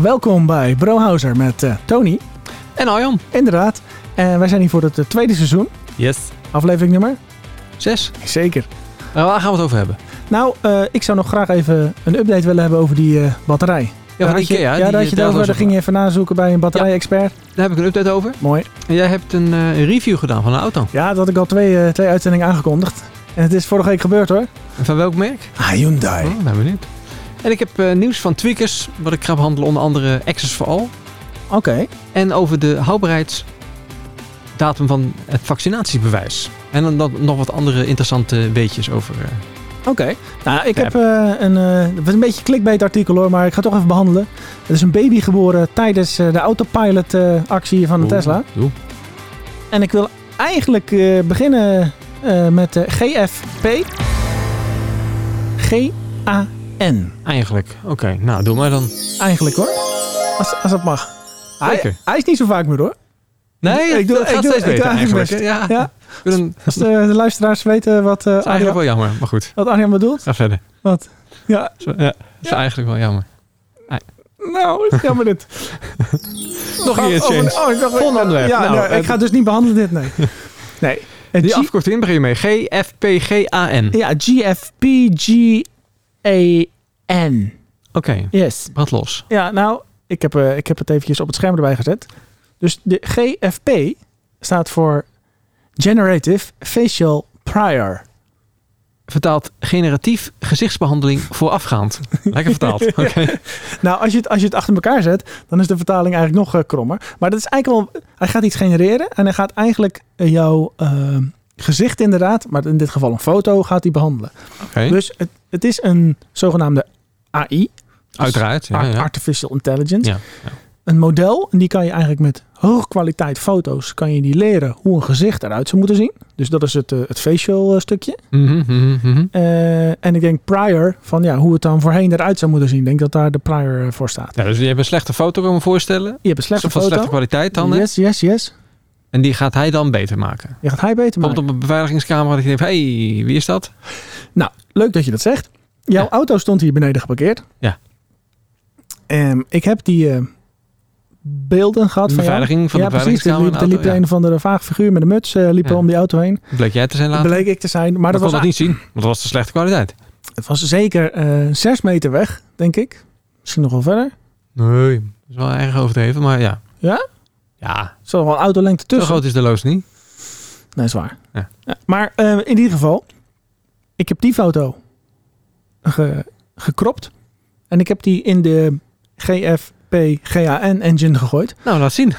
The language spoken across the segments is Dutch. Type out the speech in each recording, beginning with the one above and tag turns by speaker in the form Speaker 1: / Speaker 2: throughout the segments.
Speaker 1: Welkom bij Brohouser met eh, Tony.
Speaker 2: En Arjan.
Speaker 1: Inderdaad. En wij zijn hier voor het eh, tweede seizoen.
Speaker 2: Yes.
Speaker 1: Aflevering nummer?
Speaker 2: Zes.
Speaker 1: Zeker.
Speaker 2: Eh, waar gaan we het over hebben?
Speaker 1: Nou, eh, ik zou nog graag even een update willen hebben over die eh, batterij.
Speaker 2: Ja,
Speaker 1: Daar
Speaker 2: van
Speaker 1: had je-
Speaker 2: Ikea.
Speaker 1: ja,
Speaker 2: die,
Speaker 1: daar
Speaker 2: eh,
Speaker 1: had je het over.
Speaker 2: draadloze-
Speaker 1: Daar ging je even nazoeken bij een batterij-expert.
Speaker 2: Daar heb ik een update over.
Speaker 1: Mooi.
Speaker 2: En jij hebt een eh, review gedaan van een auto.
Speaker 1: Ja, dat had ik al twee, eh, twee uitzendingen aangekondigd. En het is vorige week gebeurd hoor.
Speaker 2: En van welk merk?
Speaker 1: Ah, Hyundai.
Speaker 2: Oh, ben benieuwd. En ik heb eh, nieuws van tweakers, wat ik ga behandelen, onder andere Access for All.
Speaker 1: Hm, Oké.
Speaker 2: En over de houdbaarheidsdatum van het vaccinatiebewijs. En dan, dan nog wat andere interessante weetjes over. eh,
Speaker 1: Oké. Nou, ik
Speaker 2: Ja.
Speaker 1: heb eh, een, eh, het was een beetje een clickbait artikel hoor, maar ik ga het toch even behandelen. Er is een baby geboren tijdens eh, de autopilot eh, actie van de
Speaker 2: hoe-
Speaker 1: Tesla.
Speaker 2: hoe-
Speaker 1: En ik wil eigenlijk eh, beginnen eh, met eh, GFP. G-A-N.
Speaker 2: Eigenlijk. Oké, nou doe maar dan.
Speaker 1: Eigenlijk hoor. Als, als dat mag. Hij,
Speaker 2: Zeker.
Speaker 1: hij is niet zo vaak meer hoor.
Speaker 2: Nee,
Speaker 1: Ik doe-
Speaker 2: ik doe, het
Speaker 1: ik
Speaker 2: gaat
Speaker 1: doe-
Speaker 2: steeds
Speaker 1: ik doe
Speaker 2: beter
Speaker 1: eigenlijk
Speaker 2: eigenlijk. Ja.
Speaker 1: Ja.
Speaker 2: Ik bedoel, dat
Speaker 1: Als de, de luisteraars weten wat, eh
Speaker 2: is eigenlijk
Speaker 1: Arjan,
Speaker 2: wel jammer, maar goed.
Speaker 1: wat Arjan bedoelt.
Speaker 2: Ga verder.
Speaker 1: Wat? Ja,
Speaker 2: Zo, ja, dat is eigenlijk wel jammer.
Speaker 1: nou, is jammer dit.
Speaker 2: Nog een keer
Speaker 1: Oh,
Speaker 2: change.
Speaker 1: Oh, ik dacht,
Speaker 2: Volgende onderwerp.
Speaker 1: Ja,
Speaker 2: Nou,
Speaker 1: nee,
Speaker 2: eh,
Speaker 1: ik ga het dus niet behandelen dit, nee. Nee. En
Speaker 2: Die
Speaker 1: G-
Speaker 2: afkorting begin je mee. G-F-P-G-A-N. Oké,
Speaker 1: ja, GFP, G-A-N. Yes.
Speaker 2: brand los.
Speaker 1: Ja, nou, ik heb, eh, ik heb het eventjes op het scherm erbij gezet. Dus de GFP staat voor Generative Facial Prior.
Speaker 2: Vertaald generatief gezichtsbehandeling voorafgaand. Lekker vertaald. Oké.
Speaker 1: Nou, als je, het, als je het achter elkaar zet, dan is de vertaling eigenlijk nog eh, krommer. Maar dat is eigenlijk wel... Hij gaat iets genereren en hij gaat eigenlijk eh, jouw eh, gezicht inderdaad, maar in dit geval een foto, gaat hij behandelen.
Speaker 2: Oké.
Speaker 1: Dus het, het is een zogenaamde AI,
Speaker 2: Uiteraard. Ja,
Speaker 1: Ar-
Speaker 2: ja.
Speaker 1: Artificial Intelligence.
Speaker 2: Ja, ja.
Speaker 1: Een model, en die kan je eigenlijk met hoogkwaliteit foto's, kan je die leren hoe een gezicht eruit zou moeten zien. Dus dat is het, eh, het facial eh, stukje.
Speaker 2: Mhm, mhm, mhm.
Speaker 1: Eh, en ik denk prior, van ja, hoe het dan voorheen eruit zou moeten zien. Ik denk dat daar de prior eh, voor staat.
Speaker 2: ja, dus je hebt een slechte foto komen voorstellen.
Speaker 1: Je hebt een slechte
Speaker 2: van
Speaker 1: foto.
Speaker 2: slechte kwaliteit dan. hè?
Speaker 1: Yes, yes, yes.
Speaker 2: En die gaat hij dan beter maken.
Speaker 1: Je gaat hij beter maken.
Speaker 2: Bijvoorbeeld op een beveiligingscamera dat je denkt, hé, hey, wie is dat?
Speaker 1: Leuk dat je dat zegt. Jouw
Speaker 2: Ja.
Speaker 1: auto stond hier beneden geparkeerd.
Speaker 2: Ja.
Speaker 1: Ehm, ik heb die eh, beelden gehad
Speaker 2: De
Speaker 1: van jou.
Speaker 2: beveiliging van
Speaker 1: ja,
Speaker 2: de
Speaker 1: precies. Er liep,
Speaker 2: beveiligingscamera.
Speaker 1: er liep
Speaker 2: ja.
Speaker 1: een of andere vaag figuur met een muts eh, liep er
Speaker 2: Ja.
Speaker 1: om die auto heen.
Speaker 2: Bleek jij te zijn
Speaker 1: Dat
Speaker 2: later?
Speaker 1: bleek ik te zijn. Maar
Speaker 2: Maar
Speaker 1: dat
Speaker 2: dat
Speaker 1: was,
Speaker 2: kon dat niet zien, want dat was de slechte kwaliteit.
Speaker 1: het was zeker eh zes meter weg, denk ik. Misschien nog wel verder.
Speaker 2: Nee, dat is wel erg overdreven, maar ja.
Speaker 1: Ja?
Speaker 2: Ja,
Speaker 1: Er zat wel een autolengte
Speaker 2: zo
Speaker 1: tussen.
Speaker 2: groot is de loos niet.
Speaker 1: Nee, is waar.
Speaker 2: Ja.
Speaker 1: Ja, maar eh, in ieder geval, ik heb die foto ge, gekropt. En ik heb die in de GFP GAN engine gegooid.
Speaker 2: Nou, laat zien.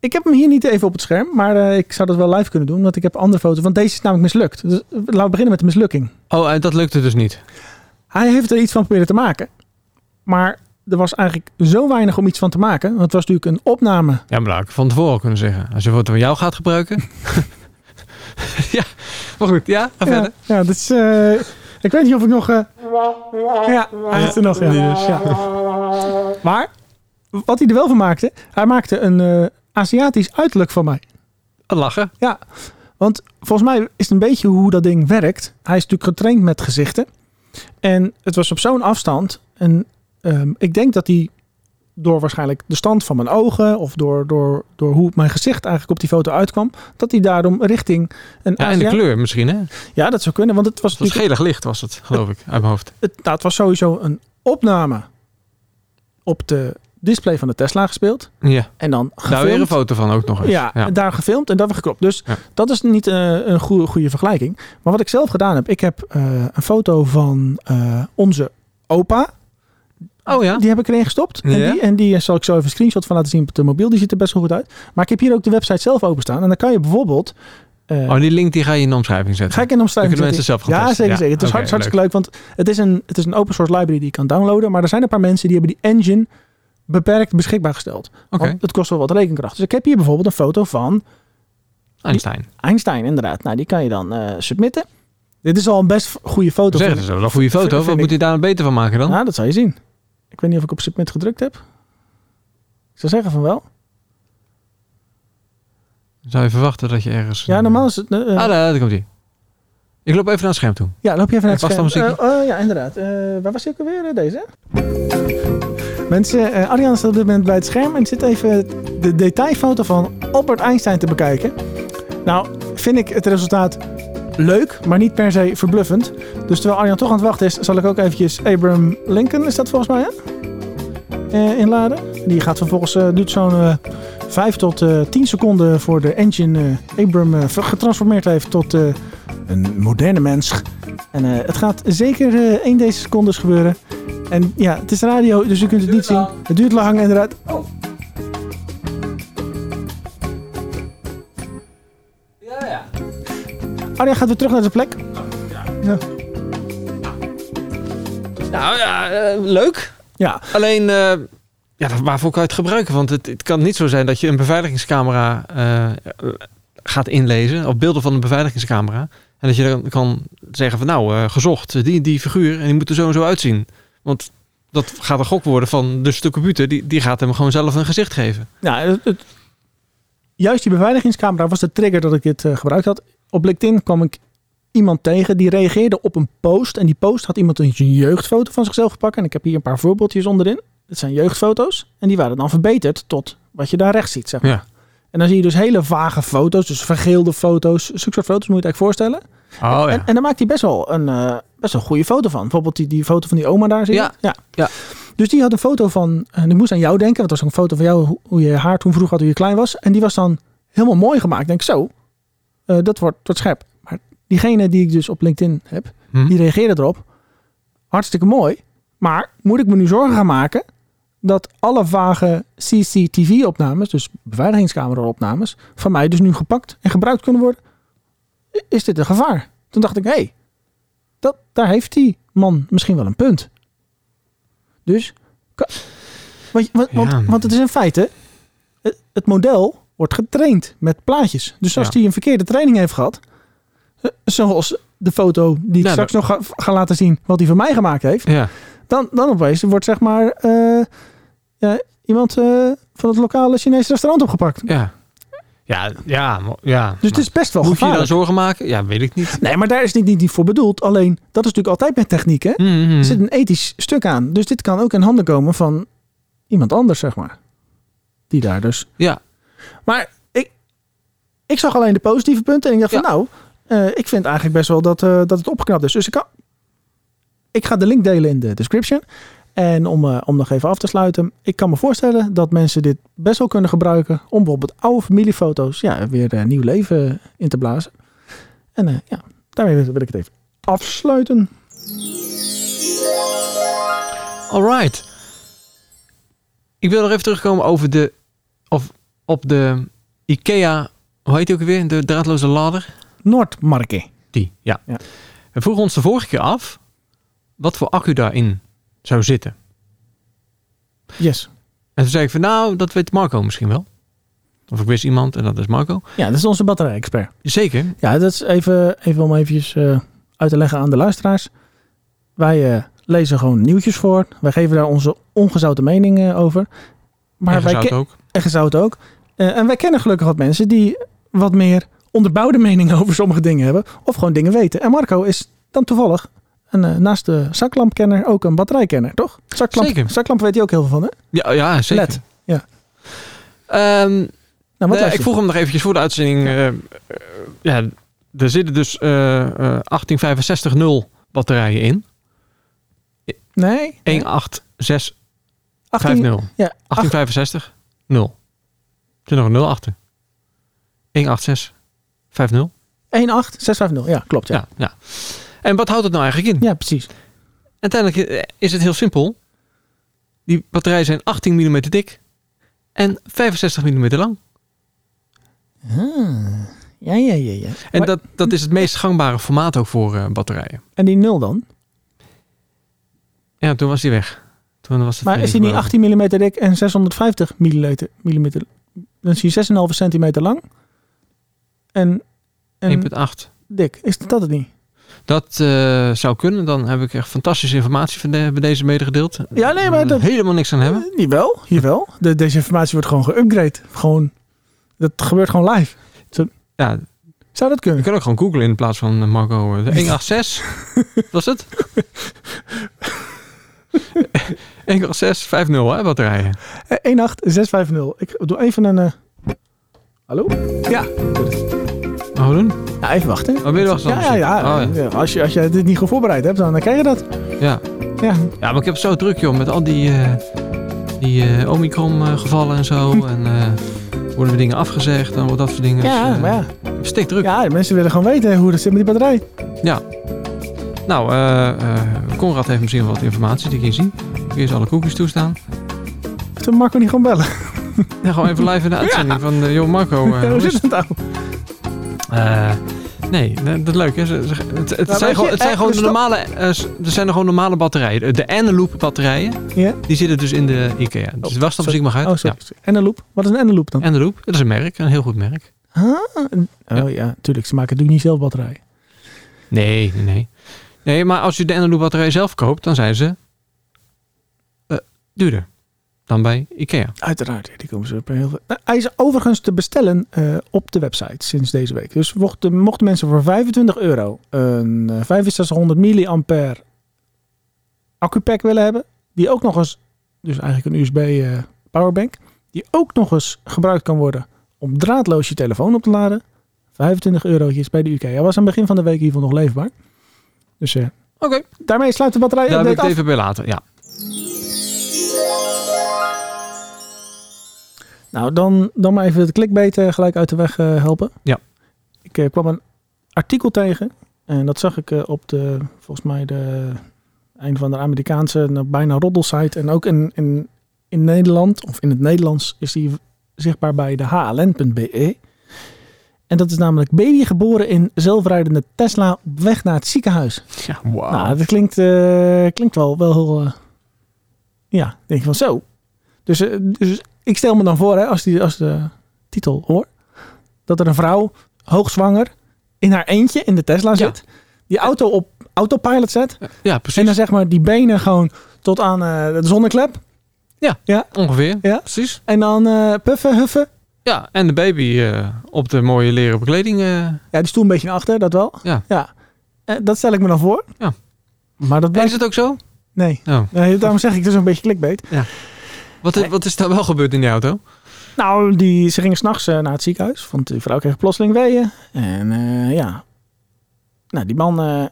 Speaker 1: Ik heb hem hier niet even op het scherm, maar eh, ik zou dat wel live kunnen doen. Want ik heb andere foto's. Want deze is namelijk mislukt. Dus eh, laten we beginnen met de mislukking.
Speaker 2: Oh, en dat lukte dus niet.
Speaker 1: Hij heeft er iets van proberen te maken. Maar er was eigenlijk zo weinig om iets van te maken. Want het was natuurlijk een opname.
Speaker 2: Ja, maar dat had ik van tevoren al kunnen zeggen. Als je een foto van jou gaat gebruiken. ja, maar goed. Ja, ga
Speaker 1: Ja,
Speaker 2: verder.
Speaker 1: ja, dat is... eh, ik weet niet of ik nog... eh, ja, hij heeft er nog. Ja. Ja. Maar wat hij er wel van maakte... Hij maakte een eh, Aziatisch uiterlijk van mij.
Speaker 2: Lachen.
Speaker 1: Want volgens mij is het een beetje hoe dat ding werkt. Hij is natuurlijk getraind met gezichten. En het was op zo'n afstand. En ehm, ik denk dat hij door waarschijnlijk de stand van mijn ogen... of door, door, door hoe mijn gezicht eigenlijk op die foto uitkwam... dat hij daarom richting een
Speaker 2: Ja, en de
Speaker 1: Aziat-
Speaker 2: kleur misschien, hè? Het
Speaker 1: Ja, dat zou kunnen. Want het was,
Speaker 2: was
Speaker 1: natuurlijk-
Speaker 2: gelig licht, was het, geloof ik, uit mijn hoofd.
Speaker 1: het, nou, het was sowieso een opname op de display van de Tesla gespeeld.
Speaker 2: Ja,
Speaker 1: En dan
Speaker 2: daar weer een
Speaker 1: gefilmd.
Speaker 2: foto van ook nog eens.
Speaker 1: Ja, daar gefilmd en dat weer geklopt. Dus
Speaker 2: Ja.
Speaker 1: dat is niet eh, een goede, goede vergelijking. Maar wat ik zelf gedaan heb, ik heb eh, een foto van eh, onze opa.
Speaker 2: Oh ja.
Speaker 1: Die heb ik erin gestopt. En,
Speaker 2: Ja.
Speaker 1: die, en die eh, zal ik zo even een screenshot van laten zien op de mobiel. Die ziet er best wel goed uit. Maar ik heb hier ook de website zelf openstaan. En dan kan je bijvoorbeeld... eh,
Speaker 2: Oh, die link die ga je in de omschrijving zetten.
Speaker 1: Ga ik in de omschrijving
Speaker 2: Dan kunnen
Speaker 1: zetten.
Speaker 2: mensen zelf gaan
Speaker 1: Ja,
Speaker 2: testen.
Speaker 1: zeker,
Speaker 2: Ja.
Speaker 1: zeker. Het is
Speaker 2: Oké,
Speaker 1: hart- hartstikke leuk, want het is, een, het is een open source library die je kan downloaden. Maar er zijn een paar mensen die hebben die engine beperkt beschikbaar gesteld.
Speaker 2: Oké,
Speaker 1: Want het kost wel wat rekenkracht. Dus ik heb hier bijvoorbeeld een foto van
Speaker 2: Einstein.
Speaker 1: Einstein, inderdaad. Nou, die kan je dan eh, submitten. Dit is al een best goede foto.
Speaker 2: Zeg
Speaker 1: vind
Speaker 2: eens,
Speaker 1: ik.
Speaker 2: dat is wel een goede
Speaker 1: Vind-
Speaker 2: foto.
Speaker 1: vind
Speaker 2: Wat
Speaker 1: ik-
Speaker 2: moet hij daar nou beter van maken dan?
Speaker 1: Nou, dat zal je zien. Ik weet niet of ik op submit gedrukt heb. Ik zou zeggen van wel.
Speaker 2: Zou je verwachten dat je ergens...
Speaker 1: Ja,
Speaker 2: een-
Speaker 1: normaal is het... eh, eh,
Speaker 2: Ah, daar, daar komt hij. Ik loop even naar het scherm toe.
Speaker 1: ja, loop je even naar het
Speaker 2: past
Speaker 1: scherm.
Speaker 2: dat muziekje?
Speaker 1: Eh, oh, ja, inderdaad. Eh, waar was die ook alweer? eh, Deze? Mensen, eh, Arjan staat op dit moment bij het scherm en zit even de detailfoto van Albert Einstein te bekijken. Nou, vind ik het resultaat leuk, maar niet per se verbluffend. Dus terwijl Arjan toch aan het wachten is, zal ik ook eventjes Abraham Lincoln, is dat volgens mij, hè? Eh, inladen. Die gaat vervolgens, eh, duurt zo'n eh 5 tot eh 10 seconden voor de engine eh Abraham eh, ver- getransformeerd heeft tot eh, een moderne mens. En eh, het gaat zeker eh één deze secondes gebeuren. En ja, het is radio, dus u kunt het niet zien. Het duurt lang, inderdaad.
Speaker 2: Oh. Ja, ja.
Speaker 1: Arjan gaat weer terug naar zijn plek.
Speaker 2: Nou ja, eh, leuk.
Speaker 1: Ja.
Speaker 2: Alleen, eh, ja, waarvoor kan je het gebruiken? Want het, het kan niet zo zijn dat je een beveiligingscamera eh, gaat inlezen, of beelden van een beveiligingscamera. En dat je dan kan zeggen van nou, eh, gezocht, die, die figuur, en die moet er zo en zo uitzien. Want dat gaat een gok worden van dus de computer, die, die gaat hem gewoon zelf een gezicht geven.
Speaker 1: Nou, het, het- juist die beveiligingscamera was de trigger dat ik dit eh, gebruikt had. Op LinkedIn kwam ik iemand tegen die reageerde op een post. En die post had iemand een jeugdfoto van zichzelf gepakt. En ik heb hier een paar voorbeeldjes onderin. Het zijn jeugdfoto's. En die waren dan verbeterd tot wat je daar rechts ziet, zeg maar.
Speaker 2: Ja.
Speaker 1: En dan zie je dus hele vage foto's, dus vergeelde foto's. Zulke soort foto's moet je het eigenlijk voorstellen.
Speaker 2: Oh
Speaker 1: En, en daar maakt hij best wel een, eh, best wel een goede foto van. Bijvoorbeeld die, die foto van die oma daar. Zie je?
Speaker 2: Ja,
Speaker 1: ja.
Speaker 2: ja.
Speaker 1: Dus die had een foto van. En ik moest aan jou denken, want dat was een foto van jou. hoe- Hoe je haar toen vroeg had, hoe je klein was. En die was dan helemaal mooi gemaakt. Ik Denk zo, eh, dat wordt, wordt scherp. Maar diegene die ik dus op LinkedIn heb,
Speaker 2: Hm.
Speaker 1: die reageerde erop. Hartstikke mooi. Maar moet ik me nu zorgen gaan maken dat alle vage CCTV-opnames, dus beveiligingscamera-opnames, van mij dus nu gepakt en gebruikt kunnen worden? I- Is dit een gevaar? Toen dacht ik, hé, hey, dat- daar heeft die man misschien wel een punt. Dus, ka- want, want, want,
Speaker 2: Ja.
Speaker 1: want het is in feite, het, het model wordt getraind met plaatjes. Dus als
Speaker 2: Ja.
Speaker 1: die een verkeerde training heeft gehad, eh, zoals de foto die ik
Speaker 2: Ja,
Speaker 1: straks nog ga, ga laten zien, wat hij van mij gemaakt heeft,
Speaker 2: ja.
Speaker 1: dan, dan opeens wordt zeg maar eh, ja, iemand eh, van het lokale Chinese restaurant opgepakt.
Speaker 2: Ja, ja, ja. mo- ja.
Speaker 1: Dus het is best wel
Speaker 2: Moet je je
Speaker 1: gevaarlijk.
Speaker 2: daar zorgen maken? Ja, weet ik niet.
Speaker 1: Nee, maar daar is dit niet, niet voor bedoeld. Alleen, dat is natuurlijk altijd met techniek, hè?
Speaker 2: Mhm, mhm.
Speaker 1: Er zit een ethisch stuk aan. Dus dit kan ook in handen komen van iemand anders, zeg maar. Die daar dus.
Speaker 2: Ja.
Speaker 1: Maar ik, ik zag alleen de positieve punten. En ik dacht
Speaker 2: Ja.
Speaker 1: van nou, eh, ik vind eigenlijk best wel dat, eh, dat het opgeknapt is. Dus ik, kan, ik ga de link delen in de description. En om, eh, om nog even af te sluiten. Ik kan me voorstellen dat mensen dit best wel kunnen gebruiken. Om bijvoorbeeld oude familiefoto's ja, weer eh, nieuw leven in te blazen. En eh, ja, daarmee wil ik het even afsluiten.
Speaker 2: Alright. Ik wil nog even terugkomen over de. Of op de IKEA. Hoe heet die ook weer? De draadloze lader?
Speaker 1: Noordmarke.
Speaker 2: Die, ja.
Speaker 1: Ja.
Speaker 2: We vroegen ons de vorige keer af. wat voor accu daarin zou zitten.
Speaker 1: Yes.
Speaker 2: En toen zei ik van nou, dat weet Marco misschien wel. Of ik wist iemand en dat is Marco.
Speaker 1: Ja, dat is onze batterij-expert.
Speaker 2: Zeker.
Speaker 1: Ja, dat is even, even om eventjes eh, uit te leggen aan de luisteraars. Wij eh, lezen gewoon nieuwtjes voor. Wij geven daar onze ongezouten mening eh, over. Maar
Speaker 2: en
Speaker 1: wij
Speaker 2: zout
Speaker 1: ken-
Speaker 2: ook.
Speaker 1: en gezout ook. Eh, en wij kennen gelukkig wat mensen die wat meer onderbouwde meningen over sommige dingen hebben. Of gewoon dingen weten. En Marco is dan toevallig een, eh, naast de zakklampkenner ook een batterijkenner, toch? Zaklamp,
Speaker 2: Zeker.
Speaker 1: Zaklamp weet hij ook heel veel van, hè?
Speaker 2: Ja, ja zeker.
Speaker 1: Led, ja.
Speaker 2: Ehm,
Speaker 1: Nou, wat
Speaker 2: Nee,
Speaker 1: luister je?
Speaker 2: ik vroeg hem nog eventjes voor de uitzending. eh, eh, ja, er zitten dus eh, eh, 1865 0 batterijen in.
Speaker 1: Nee?
Speaker 2: 18650.
Speaker 1: 18, ja, 18,
Speaker 2: 1865 0. Er zit nog een 0 achter. 18650.
Speaker 1: 18650. Ja, klopt. Ja, ja.
Speaker 2: Ja, ja. En wat houdt het nou eigenlijk in?
Speaker 1: precies.
Speaker 2: Uiteindelijk eh, is het heel simpel. Die batterijen zijn 18 mm dik en 65 mm lang.
Speaker 1: Ah, ja, ja, ja, ja.
Speaker 2: En
Speaker 1: Maar-
Speaker 2: dat, dat is het meest gangbare formaat ook voor eh, batterijen.
Speaker 1: En die nul dan?
Speaker 2: Ja, toen was hij weg. Toen was het
Speaker 1: Maar
Speaker 2: weer
Speaker 1: is die niet
Speaker 2: wel.
Speaker 1: 18 mm dik en 650 mm? millimeter? Dan is je 6,5 centimeter lang. En, en
Speaker 2: 1,8.
Speaker 1: dik. Is dat het niet?
Speaker 2: Dat eh, zou kunnen. Dan heb ik echt fantastische informatie van de, bij deze medegedeeld.
Speaker 1: Ja, nee, maar
Speaker 2: Eh,
Speaker 1: dat-
Speaker 2: Helemaal niks aan hebben.
Speaker 1: Eh, Jawel, jawel. De, deze informatie wordt gewoon geüpgrade. Gewoon, dat gebeurt gewoon live.
Speaker 2: Ja,
Speaker 1: Zou dat
Speaker 2: je
Speaker 1: kunnen?
Speaker 2: kan ook gewoon googlen in plaats van eh, Marco. eh, 186 was het? 1,650 hè, batterijen.
Speaker 1: Eh, 18650. Ik doe even een... eh, Hallo? Ja.
Speaker 2: Wat we doen?
Speaker 1: ja, even wachten.
Speaker 2: Oh, ben je er wacht
Speaker 1: Ja, ja, ja.
Speaker 2: Oh,
Speaker 1: Ja, Als, je, als je dit niet goed voorbereid hebt, dan eh, krijg je dat.
Speaker 2: ja.
Speaker 1: Ja,
Speaker 2: Ja, maar ik heb het zo druk, joh, met al die, eh, die eh, Omicron-gevallen en zo. En eh, worden we dingen afgezegd en wat dat soort dingen.
Speaker 1: Hm. ja
Speaker 2: Dus, eh,
Speaker 1: maar ja.
Speaker 2: Stik druk.
Speaker 1: Ja, de mensen willen gewoon weten hoe dat zit met die batterij.
Speaker 2: Nou, eh, eh, Conrad heeft misschien wel wat informatie die ik hier zie. Eerst alle koekjes toestaan.
Speaker 1: Toen Marco niet gewoon bellen.
Speaker 2: Ja, gewoon even live in de uitzending van eh, joh Marco. eh,
Speaker 1: hoe
Speaker 2: hoe
Speaker 1: zit
Speaker 2: is
Speaker 1: het
Speaker 2: het?
Speaker 1: nou?
Speaker 2: Eh, nee, dat dat is leuk. Hè? Ze- ze- het het
Speaker 1: weet
Speaker 2: zijn, gewoon,
Speaker 1: je,
Speaker 2: het zijn
Speaker 1: eh,
Speaker 2: gewoon
Speaker 1: we
Speaker 2: de
Speaker 1: stop-
Speaker 2: normale, eh, s- er zijn er gewoon normale batterijen. De Eneloop batterijen,
Speaker 1: Ja.
Speaker 2: die zitten dus in de Ikea. Dus was dat
Speaker 1: sorry.
Speaker 2: muziek mag uit.
Speaker 1: Oh, sorry. En een loop. Wat is een en een loop dan?
Speaker 2: Ja. Eneloop, dat is een merk, een heel goed merk.
Speaker 1: Oh ja, tuurlijk. Ze maken natuurlijk niet zelf batterij.
Speaker 2: Nee, nee, nee. Nee, maar als je de Eneloop batterij zelf koopt, dan zijn ze eh, duurder dan bij
Speaker 1: Oh,
Speaker 2: Ikea.
Speaker 1: Uiteraard. ja, Die komen ze op heel veel. Nou, hij is overigens te bestellen eh, op de website sinds deze week. Dus mochten, mochten mensen voor 25 euro een eh, 6500 milliampère accupack willen hebben, die ook nog eens, dus eigenlijk een USB eh, powerbank, die ook nog eens gebruikt kan worden om draadloos je telefoon op te laden. 25 eurotjes bij de UK. Hij was aan het begin van de week in ieder geval nog leefbaar. Dus eh,
Speaker 2: Oké,
Speaker 1: daarmee sluit de batterij
Speaker 2: daar wil ik
Speaker 1: update
Speaker 2: het
Speaker 1: af.
Speaker 2: even bij laten. Ja.
Speaker 1: Nou, dan, dan maar even het clickbait eh, gelijk uit de weg eh, helpen.
Speaker 2: Ja.
Speaker 1: Ik eh, kwam een artikel tegen. En dat zag ik eh, op de, volgens mij, de, een van de Amerikaanse nou, bijna roddelsite. En ook in, in, in Nederland, of in het Nederlands, is die zichtbaar bij de hln.be. E. En dat is namelijk baby geboren in zelfrijdende Tesla op weg naar het ziekenhuis.
Speaker 2: Ja, wauw.
Speaker 1: Nou, dat klinkt, eh, klinkt wel, wel heel... eh, ja, denk je van zo. Dus, eh, dus ik stel me dan voor, hè, als, die, als de titel hoor, dat er een vrouw, hoogzwanger, in haar eentje in de Tesla zit. Die auto op autopilot zet.
Speaker 2: eh, ja,
Speaker 1: En dan
Speaker 2: precies.
Speaker 1: zeg maar die benen gewoon tot aan eh, de zonneklep.
Speaker 2: Ongeveer.
Speaker 1: Ja.
Speaker 2: Precies.
Speaker 1: En dan eh, puffen, huffen.
Speaker 2: Ja, en de baby eh, op de mooie leren bekleding. eh.
Speaker 1: Ja, die stoel een beetje naar achter, dat wel.
Speaker 2: Ja.
Speaker 1: ja. Eh, dat stel ik me dan voor.
Speaker 2: Ja.
Speaker 1: Maar dat
Speaker 2: En is
Speaker 1: blijft...
Speaker 2: het ook zo?
Speaker 1: Nee.
Speaker 2: Oh.
Speaker 1: nee, daarom zeg ik dus een beetje clickbait.
Speaker 2: Wat, is- wat is daar wel gebeurd in die auto?
Speaker 1: Nou, die, ze gingen s'nachts eh, naar het ziekenhuis, want die vrouw kreeg plotseling weeën. En eh, ja, nou die man, eh,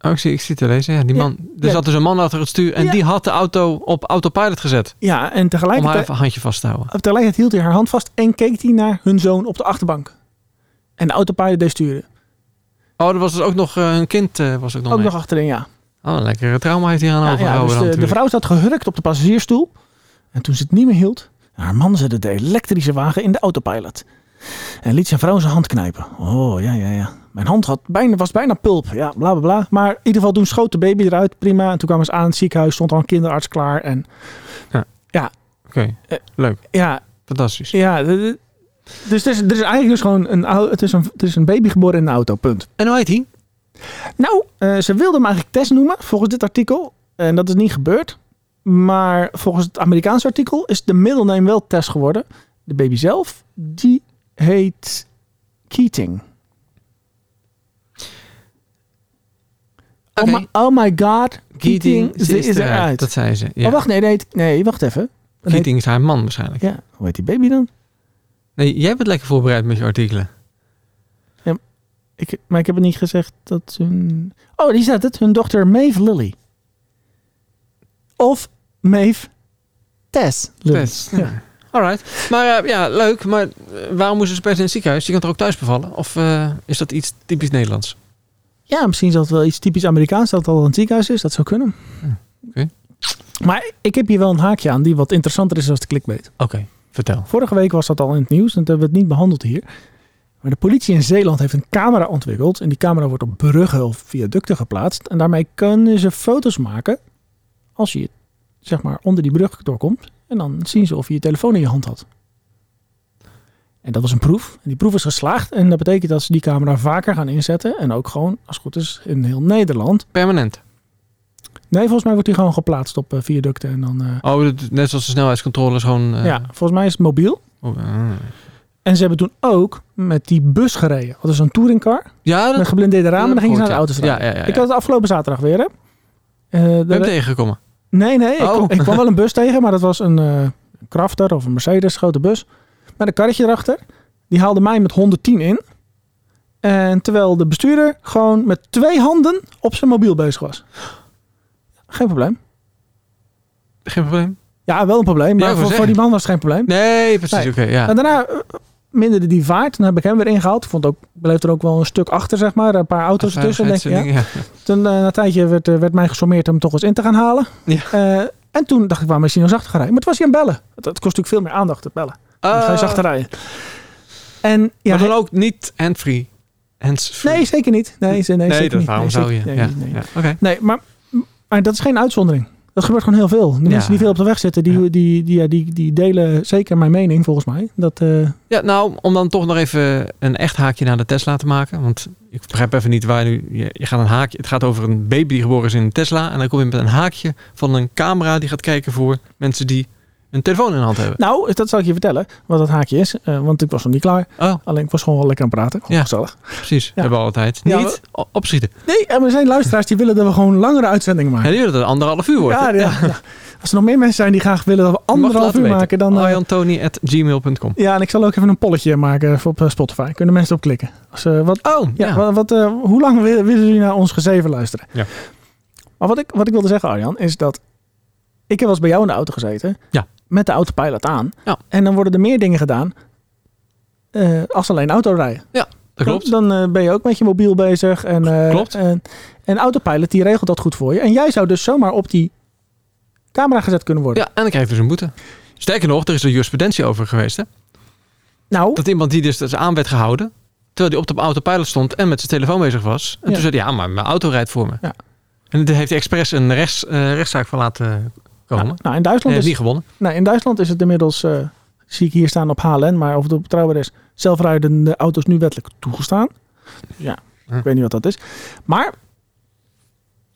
Speaker 2: Oh, ik zie, ik zie het te lezen. Ja, die
Speaker 1: Ja.
Speaker 2: man, er
Speaker 1: Ja.
Speaker 2: zat dus een man achter het stuur en
Speaker 1: Ja.
Speaker 2: die had de auto op autopilot gezet.
Speaker 1: ja, en
Speaker 2: Om haar
Speaker 1: tegelijkertijd,
Speaker 2: even een handje vast te houden.
Speaker 1: tegelijkertijd hield hij haar hand vast en keek hij naar hun zoon op de achterbank. En de autopilot deed sturen.
Speaker 2: Oh, er was dus ook nog eh, een kind eh, was ook nog
Speaker 1: Ook
Speaker 2: mee.
Speaker 1: nog achterin, ja.
Speaker 2: Oh, een lekkere trauma heeft hij aan
Speaker 1: Ja, ja,
Speaker 2: overgehouden
Speaker 1: dus
Speaker 2: dan
Speaker 1: de, de
Speaker 2: natuurlijk.
Speaker 1: vrouw zat gehurkt op de passagiersstoel. En toen ze het niet meer hield, haar man zette de elektrische wagen in de autopilot. En liet zijn vrouw zijn hand knijpen. Oh, ja, ja, ja. Mijn hand had bijna, was bijna pulp. Ja, bla, bla, bla. Maar in ieder geval toen schoot de baby eruit. Prima. En toen kwamen ze aan het ziekenhuis. Stond al een kinderarts klaar. En
Speaker 2: Oké,
Speaker 1: Eh.
Speaker 2: leuk.
Speaker 1: ja,
Speaker 2: Fantastisch.
Speaker 1: ja. d- d- Dus er is, er is eigenlijk dus gewoon een, ou- het is een, het is een baby geboren in een auto. Punt.
Speaker 2: En hoe heet hij?
Speaker 1: Nou, eh, ze wilden hem eigenlijk Tess noemen, volgens dit artikel. En dat is niet gebeurd. Maar volgens het Amerikaanse artikel is de middelnaam wel Tess geworden. De baby zelf, die heet Keating.
Speaker 2: Oké.
Speaker 1: Oh, my, oh my god, Keating,
Speaker 2: ze
Speaker 1: ze is eruit.
Speaker 2: Dat zei ze. Ja.
Speaker 1: Oh, wacht, nee, nee, nee, wacht even. Dan heet-
Speaker 2: Keating is haar man waarschijnlijk.
Speaker 1: ja, hoe heet die baby dan?
Speaker 2: Nee, jij bent lekker voorbereid met je artikelen.
Speaker 1: Ik, maar ik heb het niet gezegd dat hun... Oh, die staat het. Hun dochter Maeve Lily. Of Maeve Tess Lily.
Speaker 2: Best.
Speaker 1: Ja.
Speaker 2: Ja. Alright. Maar eh, ja, leuk. Maar eh, waarom moesten ze per se in het ziekenhuis? Je kan er ook thuis bevallen? Of eh, is dat iets typisch Nederlands?
Speaker 1: Ja, misschien is dat wel iets typisch Amerikaans dat het al een ziekenhuis is. Dat zou kunnen.
Speaker 2: Ja, oké.
Speaker 1: Maar ik heb hier wel een haakje aan die wat interessanter is dan de clickbait.
Speaker 2: Oké, vertel.
Speaker 1: Vorige week was dat al in het nieuws en dat hebben we het niet behandeld hier. Maar de politie in Zeeland heeft een camera ontwikkeld. En die camera wordt op bruggen of viaducten geplaatst. En daarmee kunnen ze foto's maken als je zeg maar onder die brug doorkomt. En dan zien ze of je je telefoon in je hand had. En dat was een proef. En die proef is geslaagd. En dat betekent dat ze die camera vaker gaan inzetten. En ook gewoon, als het goed is, in heel Nederland.
Speaker 2: Permanent.
Speaker 1: Nee, volgens mij wordt die gewoon geplaatst op eh, viaducten. En dan, eh,
Speaker 2: Oh, dat- net zoals de snelheidscontroles gewoon... eh,
Speaker 1: ja, volgens mij is het mobiel.
Speaker 2: oh, eh.
Speaker 1: En ze hebben toen ook met die bus gereden. Dat is een touringcar
Speaker 2: ja,
Speaker 1: met
Speaker 2: Oh, dat
Speaker 1: geblindeerde ramen. Dan gingen ze naar de
Speaker 2: Ja,
Speaker 1: auto's rijden.
Speaker 2: Ja, ja, ja.
Speaker 1: Ik had het afgelopen zaterdag weer, hè. Eh,
Speaker 2: We hebben
Speaker 1: daar-
Speaker 2: tegengekomen.
Speaker 1: Nee, nee.
Speaker 2: Oh.
Speaker 1: Ik, kwam- ik kwam wel een bus tegen, maar dat was een eh Crafter of een Mercedes, grote bus. Met een karretje erachter. Die haalde mij met 110 in. En terwijl de bestuurder gewoon met twee handen op zijn mobiel bezig was. Geen probleem.
Speaker 2: Geen probleem.
Speaker 1: Ja, wel een probleem,
Speaker 2: Ja,
Speaker 1: maar
Speaker 2: ik wou
Speaker 1: voor, voor
Speaker 2: zeggen.
Speaker 1: die man was het geen probleem.
Speaker 2: Nee, precies.
Speaker 1: Nee.
Speaker 2: Oké, ja.
Speaker 1: En daarna eh, minderde die vaart. Toen heb ik hem weer ingehaald. Ik vond ook, bleef er ook wel een stuk achter, zeg maar. Een paar auto's ertussen. Denk, ik, ja.
Speaker 2: Veiligheidsdingen, ja.
Speaker 1: Toen eh, na een tijdje werd, eh, werd mij gesommeerd om toch eens in te gaan halen.
Speaker 2: Ja.
Speaker 1: Eh, en toen dacht ik, waarom is hij nou zachter gaan rijden? Maar toen was hij aan het bellen. Het, het kost natuurlijk veel meer aandacht, het bellen. Dan ga je
Speaker 2: Eh,
Speaker 1: zachter rijden. En ja,
Speaker 2: maar dan
Speaker 1: hij-
Speaker 2: ook niet handfree. Handsfree.
Speaker 1: nee, zeker niet. Nee, ze- nee,
Speaker 2: nee,
Speaker 1: zeker
Speaker 2: dat,
Speaker 1: niet.
Speaker 2: waarom
Speaker 1: nee,
Speaker 2: zou je?
Speaker 1: zeker-
Speaker 2: ja.
Speaker 1: Nee, nee.
Speaker 2: ja. Oké.
Speaker 1: Nee, maar, maar dat is geen uitzondering. Dat gebeurt gewoon heel veel. De
Speaker 2: Ja.
Speaker 1: mensen die veel op de weg zitten, die,
Speaker 2: Ja.
Speaker 1: die, die, ja, die, die delen zeker mijn mening, volgens mij. Dat, eh,
Speaker 2: Ja, nou, om dan toch nog even een echt haakje naar de Tesla te maken. Want ik begrijp even niet waar nu... Je, je gaat een haakje... Het gaat over een baby die geboren is in een Tesla. En dan kom je met een haakje van een camera die gaat kijken voor mensen die een telefoon in de hand hebben.
Speaker 1: nou, dat zal ik je vertellen, wat dat haakje is. Eh, want ik was nog niet klaar.
Speaker 2: Oh,
Speaker 1: Alleen, ik was gewoon wel lekker aan het praten. Gewoon
Speaker 2: Ja.
Speaker 1: gezellig.
Speaker 2: precies.
Speaker 1: Ja.
Speaker 2: Hebben we altijd.
Speaker 1: Ja,
Speaker 2: niet o- opschieten.
Speaker 1: Nee, en er zijn luisteraars die willen dat we gewoon langere uitzendingen
Speaker 2: En
Speaker 1: maken.
Speaker 2: nu dat het een anderhalf uur wordt.
Speaker 1: Ja, ja, ja. Als er nog meer mensen zijn die graag willen dat we anderhalf uur maken,
Speaker 2: Oh,
Speaker 1: dan... eh,
Speaker 2: Arjantoni.gmail.com
Speaker 1: ja, en ik zal ook even een polletje maken voor op eh, Spotify. Kunnen mensen op klikken. Als, eh, wat,
Speaker 2: Oh,
Speaker 1: ja,
Speaker 2: ja.
Speaker 1: Wat, wat, eh, hoe lang willen, willen jullie naar ons gezeven luisteren?
Speaker 2: Ja.
Speaker 1: Maar wat ik, wat ik wilde zeggen, Arjan, is dat... Ik heb wel eens bij jou in de auto gezeten.
Speaker 2: Ja.
Speaker 1: Met de autopilot aan.
Speaker 2: Ja.
Speaker 1: En dan worden er meer dingen gedaan eh, als alleen autorijden.
Speaker 2: dat klopt.
Speaker 1: Dan, dan, eh, ben je ook met je mobiel bezig. En, eh,
Speaker 2: Klopt.
Speaker 1: En, en Autopilot die regelt dat goed voor je. En jij zou dus zomaar op die camera gezet kunnen worden.
Speaker 2: Ja, en dan krijg je dus een boete. Sterker nog, er is een jurisprudentie over geweest. Hè?
Speaker 1: Nou,
Speaker 2: Dat iemand die dus aan werd gehouden, terwijl hij op de autopilot stond en met zijn telefoon bezig was. En
Speaker 1: Ja.
Speaker 2: toen zei hij, ja, maar mijn auto rijdt voor me.
Speaker 1: Ja.
Speaker 2: En daar heeft hij expres een rechts, eh, rechtszaak van laten komen.
Speaker 1: nou,
Speaker 2: En
Speaker 1: nou, in,
Speaker 2: hij
Speaker 1: Duitsland
Speaker 2: heeft
Speaker 1: is,
Speaker 2: niet gewonnen.
Speaker 1: nou, in Duitsland is het inmiddels, eh, zie ik hier staan op HLN, maar of het betrouwbaar is, zelfrijdende auto's nu wettelijk toegestaan. Dus Ja,
Speaker 2: Hm.
Speaker 1: ik weet niet wat dat is. Maar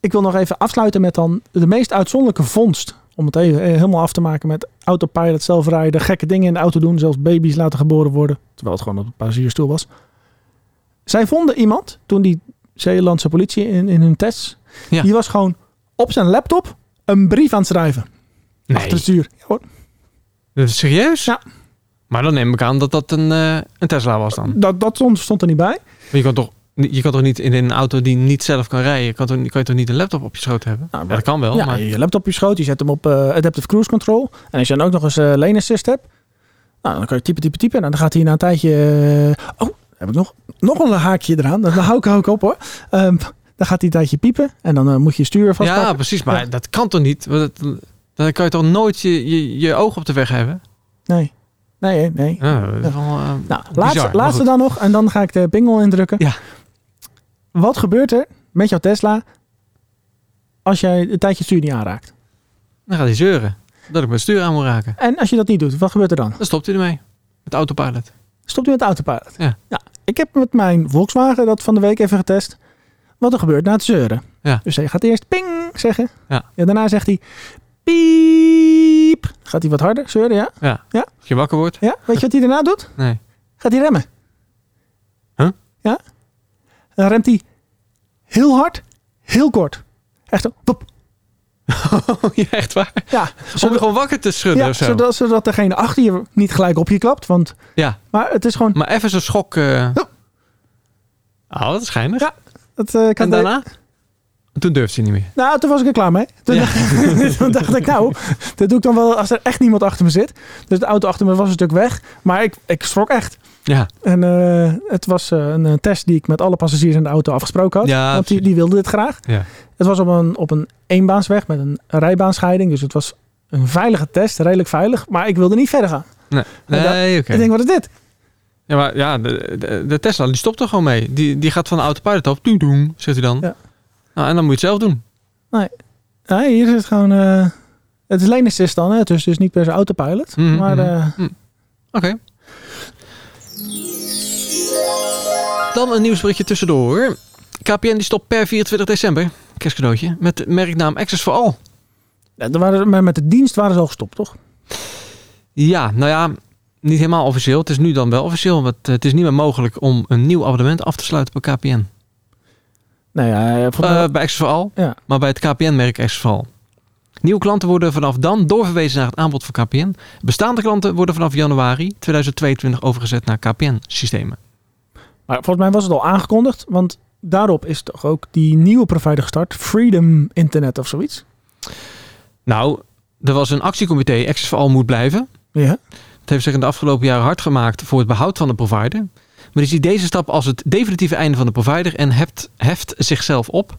Speaker 1: ik wil nog even afsluiten met dan de meest uitzonderlijke vondst. Om het even eh, helemaal af te maken met autopilot, zelfrijden, gekke dingen in de auto doen. Zelfs baby's laten geboren worden. Terwijl het gewoon op een passagiersstoel was. Zij vonden iemand, toen die Zeelandse politie in, in hun tests.
Speaker 2: Ja.
Speaker 1: Die was gewoon op zijn laptop een brief aan het schrijven.
Speaker 2: Nee,
Speaker 1: Achter het stuur. Ja, hoor.
Speaker 2: Dat is serieus?
Speaker 1: dus- Ja.
Speaker 2: Maar dan neem ik aan dat dat een, eh, een Tesla was dan.
Speaker 1: Dat, dat stond, stond er niet bij.
Speaker 2: Maar je kan toch, je kan toch niet in een auto die niet zelf kan rijden, kan, toch, kan je toch niet een laptop op je schoot hebben?
Speaker 1: Nou,
Speaker 2: ja, dat kan wel,
Speaker 1: ja,
Speaker 2: maar
Speaker 1: Je laptop op je schoot, je zet hem op eh, Adaptive Cruise Control. En als je dan ook nog eens eh, lane assist hebt. Nou, dan kan je typen, typen, typen. En dan gaat hij na een tijdje... eh, oh, heb ik nog, nog een haakje eraan. Dan hou ik, hou ik op hoor. Ehm, dan gaat hij een tijdje piepen. En dan eh, moet je stuur vastpakken.
Speaker 2: Ja, precies. Maar
Speaker 1: Ja.
Speaker 2: dat kan toch niet? Want dat- dan kan je toch nooit je, je, je oog op de weg hebben?
Speaker 1: Nee, nee, nee.
Speaker 2: Ja, dat is wel, eh,
Speaker 1: Nou,
Speaker 2: Bizar,
Speaker 1: laatste,
Speaker 2: maar
Speaker 1: laatste
Speaker 2: goed.
Speaker 1: dan nog. En dan ga ik de pingel indrukken.
Speaker 2: Ja.
Speaker 1: Wat gebeurt er met jouw Tesla als jij een tijdje het stuur niet aanraakt?
Speaker 2: dan gaat hij zeuren. Dat ik mijn stuur aan moet raken.
Speaker 1: En als je dat niet doet, wat gebeurt er dan?
Speaker 2: Dan stopt hij ermee. Met autopilot.
Speaker 1: Stopt hij met de autopilot?
Speaker 2: Ja.
Speaker 1: Ik heb met mijn Volkswagen dat van de week even getest. Wat er gebeurt na het zeuren.
Speaker 2: Ja.
Speaker 1: Dus hij gaat eerst ping zeggen.
Speaker 2: Ja.
Speaker 1: daarna zegt hij piep. Gaat hij wat harder zeuren, ja?
Speaker 2: Als je wakker wordt?
Speaker 1: ja? Weet je wat hij daarna doet?
Speaker 2: Nee.
Speaker 1: Gaat hij remmen.
Speaker 2: Huh?
Speaker 1: Ja. Dan remt hij heel hard, heel kort. Echt zo, pop.
Speaker 2: Oh, ja, echt waar?
Speaker 1: Ja,
Speaker 2: Om je
Speaker 1: zodat,
Speaker 2: gewoon wakker te schudden
Speaker 1: ja
Speaker 2: of zo.
Speaker 1: zodat, zodat degene achter je niet gelijk op je klapt. Want,
Speaker 2: Ja,
Speaker 1: maar het is gewoon...
Speaker 2: maar even zo'n schok. eh
Speaker 1: Ja.
Speaker 2: Oh, dat is geinig.
Speaker 1: Ja, Het, eh, kan
Speaker 2: en daarna? Toen durft hij niet meer.
Speaker 1: Nou, toen was ik er klaar mee. Toen,
Speaker 2: Ja.
Speaker 1: dacht, toen dacht ik, nou, dat doe ik dan wel als er echt niemand achter me zit. Dus de auto achter me was een stuk weg. Maar ik, ik schrok echt.
Speaker 2: Ja,
Speaker 1: En eh, het was eh, een eh, test die ik met alle passagiers in de auto afgesproken had.
Speaker 2: Ja,
Speaker 1: want die,
Speaker 2: precies.
Speaker 1: die wilden dit graag.
Speaker 2: ja.
Speaker 1: Het was op een, op een eenbaansweg met een rijbaanscheiding. Dus het was een veilige test, redelijk veilig. Maar ik wilde niet verder gaan.
Speaker 2: Nee, nee oké.
Speaker 1: Ik denk, wat is dit?
Speaker 2: Ja, maar ja, de, de, de Tesla die stopt er gewoon mee. Die, die gaat van de autopilot af. Doem, doem, zegt hij dan.
Speaker 1: Ja.
Speaker 2: Nou, en dan moet je het zelf doen.
Speaker 1: Nee, Nou, hier is het gewoon... eh, het is lane assist dan, hè? dus dus niet per se autopilot.
Speaker 2: Mhm,
Speaker 1: maar
Speaker 2: mhm.
Speaker 1: eh,
Speaker 2: Oké. Dan een nieuwsberichtje tussendoor. KPN die stopt per 24 december, kerstcadeautje, met de merknaam Access for All.
Speaker 1: er waren, maar met de dienst waren ze al gestopt, toch?
Speaker 2: Ja, nou ja, niet helemaal officieel. Het is nu dan wel officieel, want eh, het is niet meer mogelijk om een nieuw abonnement af te sluiten bij KPN.
Speaker 1: Nou ja, volgens mij-
Speaker 2: Eh, bij Access for All,
Speaker 1: Ja.
Speaker 2: maar bij het KPN-merk Access for All. Nieuwe klanten worden vanaf dan doorverwezen naar het aanbod van KPN. Bestaande klanten worden vanaf januari 2022 overgezet naar KPN-systemen.
Speaker 1: Maar volgens mij was het al aangekondigd, want daarop is toch ook die nieuwe provider gestart, Freedom Internet of zoiets.
Speaker 2: Nou, er was een actiecomité, Access for All moet blijven.
Speaker 1: Ja.
Speaker 2: Het heeft zich in de afgelopen jaren hard gemaakt voor het behoud van de provider. Maar je ziet deze stap als het definitieve einde van de provider en heft, heft zichzelf op.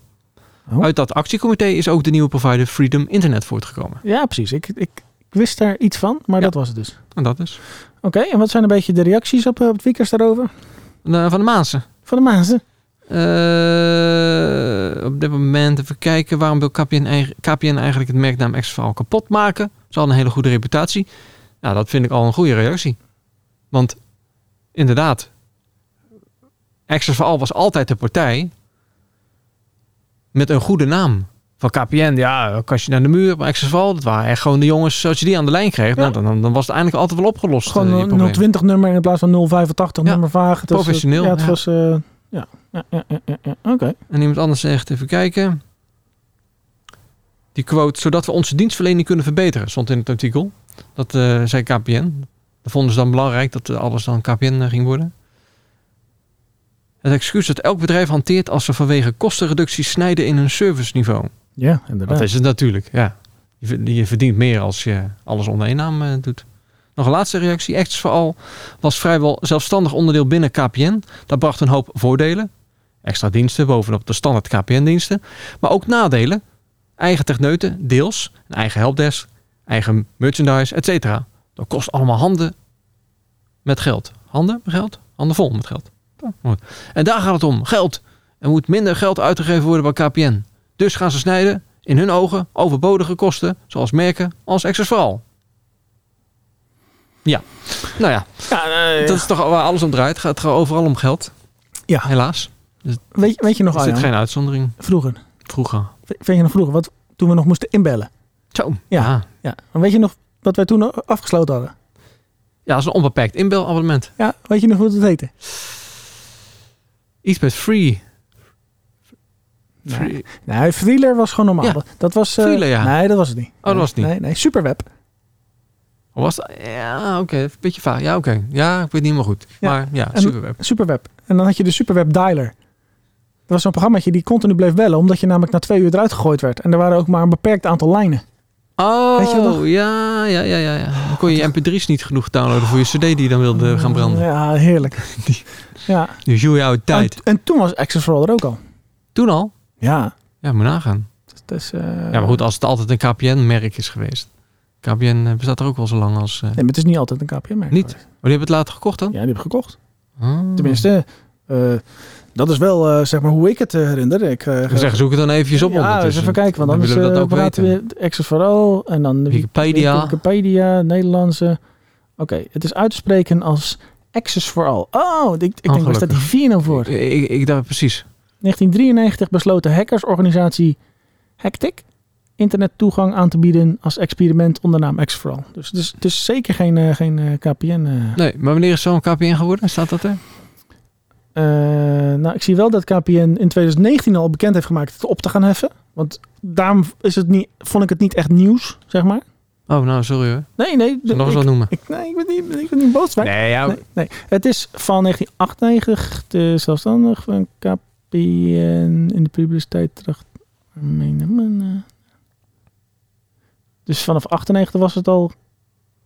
Speaker 1: Oh.
Speaker 2: Uit dat actiecomité is ook de nieuwe provider Freedom Internet voortgekomen.
Speaker 1: Ja, precies. Ik, ik, ik wist daar iets van, maar
Speaker 2: Ja.
Speaker 1: dat was het dus.
Speaker 2: En dat is.
Speaker 1: Oké, en wat zijn een beetje de reacties op, eh, op tweakers daarover?
Speaker 2: Eh, Van de Maanse.
Speaker 1: Van de Maanse?
Speaker 2: Eh, op dit moment even kijken. Waarom wil KPN, eigen- KPN eigenlijk het merknaam Exval kapot maken? Ze hadden een hele goede reputatie. Nou, dat vind ik al een goede reactie. Want inderdaad, Exval was altijd de partij met een goede naam. Van KPN, ja, kastje naar de muur. Maar Exval, dat waren echt gewoon de jongens. Als je die aan de lijn kreeg,
Speaker 1: Ja.
Speaker 2: nou, dan, dan, dan was het eindelijk altijd wel opgelost. eh, je
Speaker 1: Gewoon
Speaker 2: probleem.
Speaker 1: een 020 nummer in plaats van 085
Speaker 2: Ja,
Speaker 1: nummer vaag. Het was, eh,
Speaker 2: professioneel,
Speaker 1: Ja, het
Speaker 2: ja.
Speaker 1: was... eh, ja, ja, ja, ja, ja, ja. oké.
Speaker 2: En iemand anders zegt, even kijken. Die quote, zodat we onze dienstverlening kunnen verbeteren, stond in het artikel. Dat eh, zei KPN. Dat vonden ze dan belangrijk dat eh, alles dan KPN ging worden. Het excuus dat elk bedrijf hanteert als ze vanwege kostenreducties snijden in hun serviceniveau.
Speaker 1: Ja,
Speaker 2: Dat
Speaker 1: inderdaad.
Speaker 2: is het natuurlijk, ja. Je ver- Je verdient meer als je alles onder één naam eh, doet. Nog een laatste reactie. Acts vooral was vrijwel zelfstandig onderdeel binnen KPN. Dat bracht een hoop voordelen. Extra diensten bovenop de standaard KPN-diensten. Maar ook nadelen. Eigen techneuten, deels. Een eigen helpdesk, eigen merchandise, et cetera. Dat kost allemaal handen met geld. Handen met geld? Handen vol met geld. Oh, mooi. En daar gaat het om. Geld. Er moet minder geld uitgegeven worden bij KPN. Dus gaan ze snijden in hun ogen overbodige kosten, zoals merken als accessoire. Ja, nou ja,
Speaker 1: Ja, eh,
Speaker 2: dat is toch waar alles om draait. Het gaat overal om geld.
Speaker 1: Ja.
Speaker 2: Helaas.
Speaker 1: weet, weet je nog,
Speaker 2: Er zit
Speaker 1: Arjan,
Speaker 2: geen uitzondering.
Speaker 1: vroeger,
Speaker 2: Vroeger.
Speaker 1: weet je nog vroeger, wat, toen we nog moesten inbellen.
Speaker 2: Zo.
Speaker 1: Ja.
Speaker 2: Ja,
Speaker 1: Ja. En weet je nog wat wij toen afgesloten hadden?
Speaker 2: ja dat is een onbeperkt inbelabonnement.
Speaker 1: Ja, weet je nog hoe het heette?
Speaker 2: Iets met free.
Speaker 1: Nee.
Speaker 2: free.
Speaker 1: Nee, Freeler was gewoon normaal.
Speaker 2: Ja.
Speaker 1: Dat- Dat was... eh,
Speaker 2: Freeler, ja. Oh,
Speaker 1: Nee, dat was het niet.
Speaker 2: dat was het niet.
Speaker 1: Nee, nee. Superweb.
Speaker 2: Hoe was dat? Ja, oké. Een beetje vaag. Ja, oké. Ja, ik weet niet meer goed.
Speaker 1: Ja.
Speaker 2: Maar ja,
Speaker 1: En-
Speaker 2: superweb.
Speaker 1: Superweb. En dan had je de Superweb Dialer. Dat was zo'n programmaatje die continu bleef bellen, omdat je namelijk na twee uur eruit gegooid werd. En er waren ook maar een beperkt aantal lijnen.
Speaker 2: Oh,
Speaker 1: Weet je dat nog?
Speaker 2: ja, ja, ja, ja. ja. Dan kon je je mp3's niet genoeg downloaden voor je cd die je dan wilde gaan branden.
Speaker 1: Mm, Ja, heerlijk. Ja.
Speaker 2: Nu joe je oude tijd.
Speaker 1: En, en toen was Access for All er ook al.
Speaker 2: Toen al?
Speaker 1: Ja.
Speaker 2: Ja, moet nagaan.
Speaker 1: Dus, eh,
Speaker 2: Ja, maar goed, als het altijd een KPN-merk is geweest. KPN eh, bestaat er ook wel zo lang als... eh,
Speaker 1: Nee, maar het is niet altijd een KPM-merk.
Speaker 2: Niet?
Speaker 1: geweest.
Speaker 2: Oh, die hebben het later gekocht dan?
Speaker 1: Ja, die heb ik gekocht.
Speaker 2: Oh.
Speaker 1: Tenminste, eh, dat is wel eh, zeg maar hoe ik het eh, herinner. Ik, eh,
Speaker 2: Dan Ah. zeggen, zoek het dan eventjes op
Speaker 1: Ja, eens
Speaker 2: ondertussen.
Speaker 1: even kijken, want
Speaker 2: Dan
Speaker 1: anders
Speaker 2: willen we
Speaker 1: eh,
Speaker 2: dat ook
Speaker 1: praten
Speaker 2: weten.
Speaker 1: we Access for All en dan de Wik-
Speaker 2: Wikipedia.
Speaker 1: Wikipedia, Nederlandse. Oké, het is uit te spreken als Access for All. Oh, ik, ik denk waar staat die
Speaker 2: gelukkig.
Speaker 1: 4 nou voor?
Speaker 2: Ik, ik, ik dacht precies.
Speaker 1: 1993 besloot de hackersorganisatie Hactic internettoegang aan te bieden als experiment onder naam X4All. Dus het is, het is zeker geen, eh, geen eh, KPN. eh.
Speaker 2: Nee, maar wanneer is zo'n KPN geworden? Staat dat er?
Speaker 1: Eh, nou, ik zie wel dat KPN in 2019 al bekend heeft gemaakt het op te gaan heffen. Want daarom is het niet, vond ik het niet echt nieuws, zeg maar.
Speaker 2: Oh, nou, sorry hoor.
Speaker 1: Nee, nee.
Speaker 2: Zal ik nog
Speaker 1: ik,
Speaker 2: eens wat noemen?
Speaker 1: ik, nee, ik ben niet, ik ben niet boos. maar-
Speaker 2: Nee, ja.
Speaker 1: Nee, nee. Het is van 1998 de zelfstandig van KPN in de publiciteit tracht. Dus vanaf 98 was het al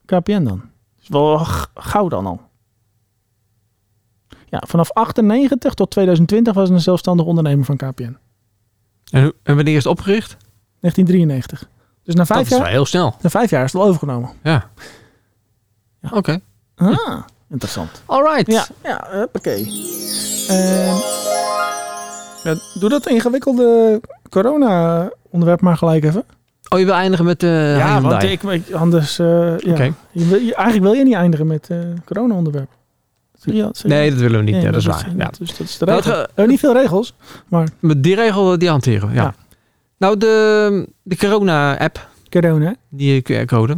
Speaker 1: KPN dan. Dus wel g- gauw dan al. Ja, vanaf 98 tot 2020 was het een zelfstandig ondernemer van KPN.
Speaker 2: En, hoe- en wanneer is het opgericht?
Speaker 1: 1993. Dus na
Speaker 2: dat
Speaker 1: vijf,
Speaker 2: is wel
Speaker 1: jaar,
Speaker 2: heel snel.
Speaker 1: na vijf jaar is het al overgenomen.
Speaker 2: Ja.
Speaker 1: Ja.
Speaker 2: Oké.
Speaker 1: Ah, interessant.
Speaker 2: All right.
Speaker 1: Ja, ja huppakee. Ehm, ja, doe dat ingewikkelde corona-onderwerp maar gelijk even.
Speaker 2: Oh, je wil eindigen met eh
Speaker 1: ja,
Speaker 2: Hyundai?
Speaker 1: want ik, ik- anders... eh, ja.
Speaker 2: Oké.
Speaker 1: Je wil- je- eigenlijk wil je niet eindigen met eh corona-onderwerp. Zie je dat? Zie je
Speaker 2: Nee, dat willen we niet.
Speaker 1: Nee,
Speaker 2: ja, dat is waar. Ja.
Speaker 1: dat is- dat is de
Speaker 2: Nou,
Speaker 1: regel.
Speaker 2: het, eh,
Speaker 1: Eh, niet veel regels, maar
Speaker 2: Maar Die regel, die hanteren we, ja.
Speaker 1: Ja.
Speaker 2: Nou, de, de corona-app
Speaker 1: corona.
Speaker 2: die QR-code,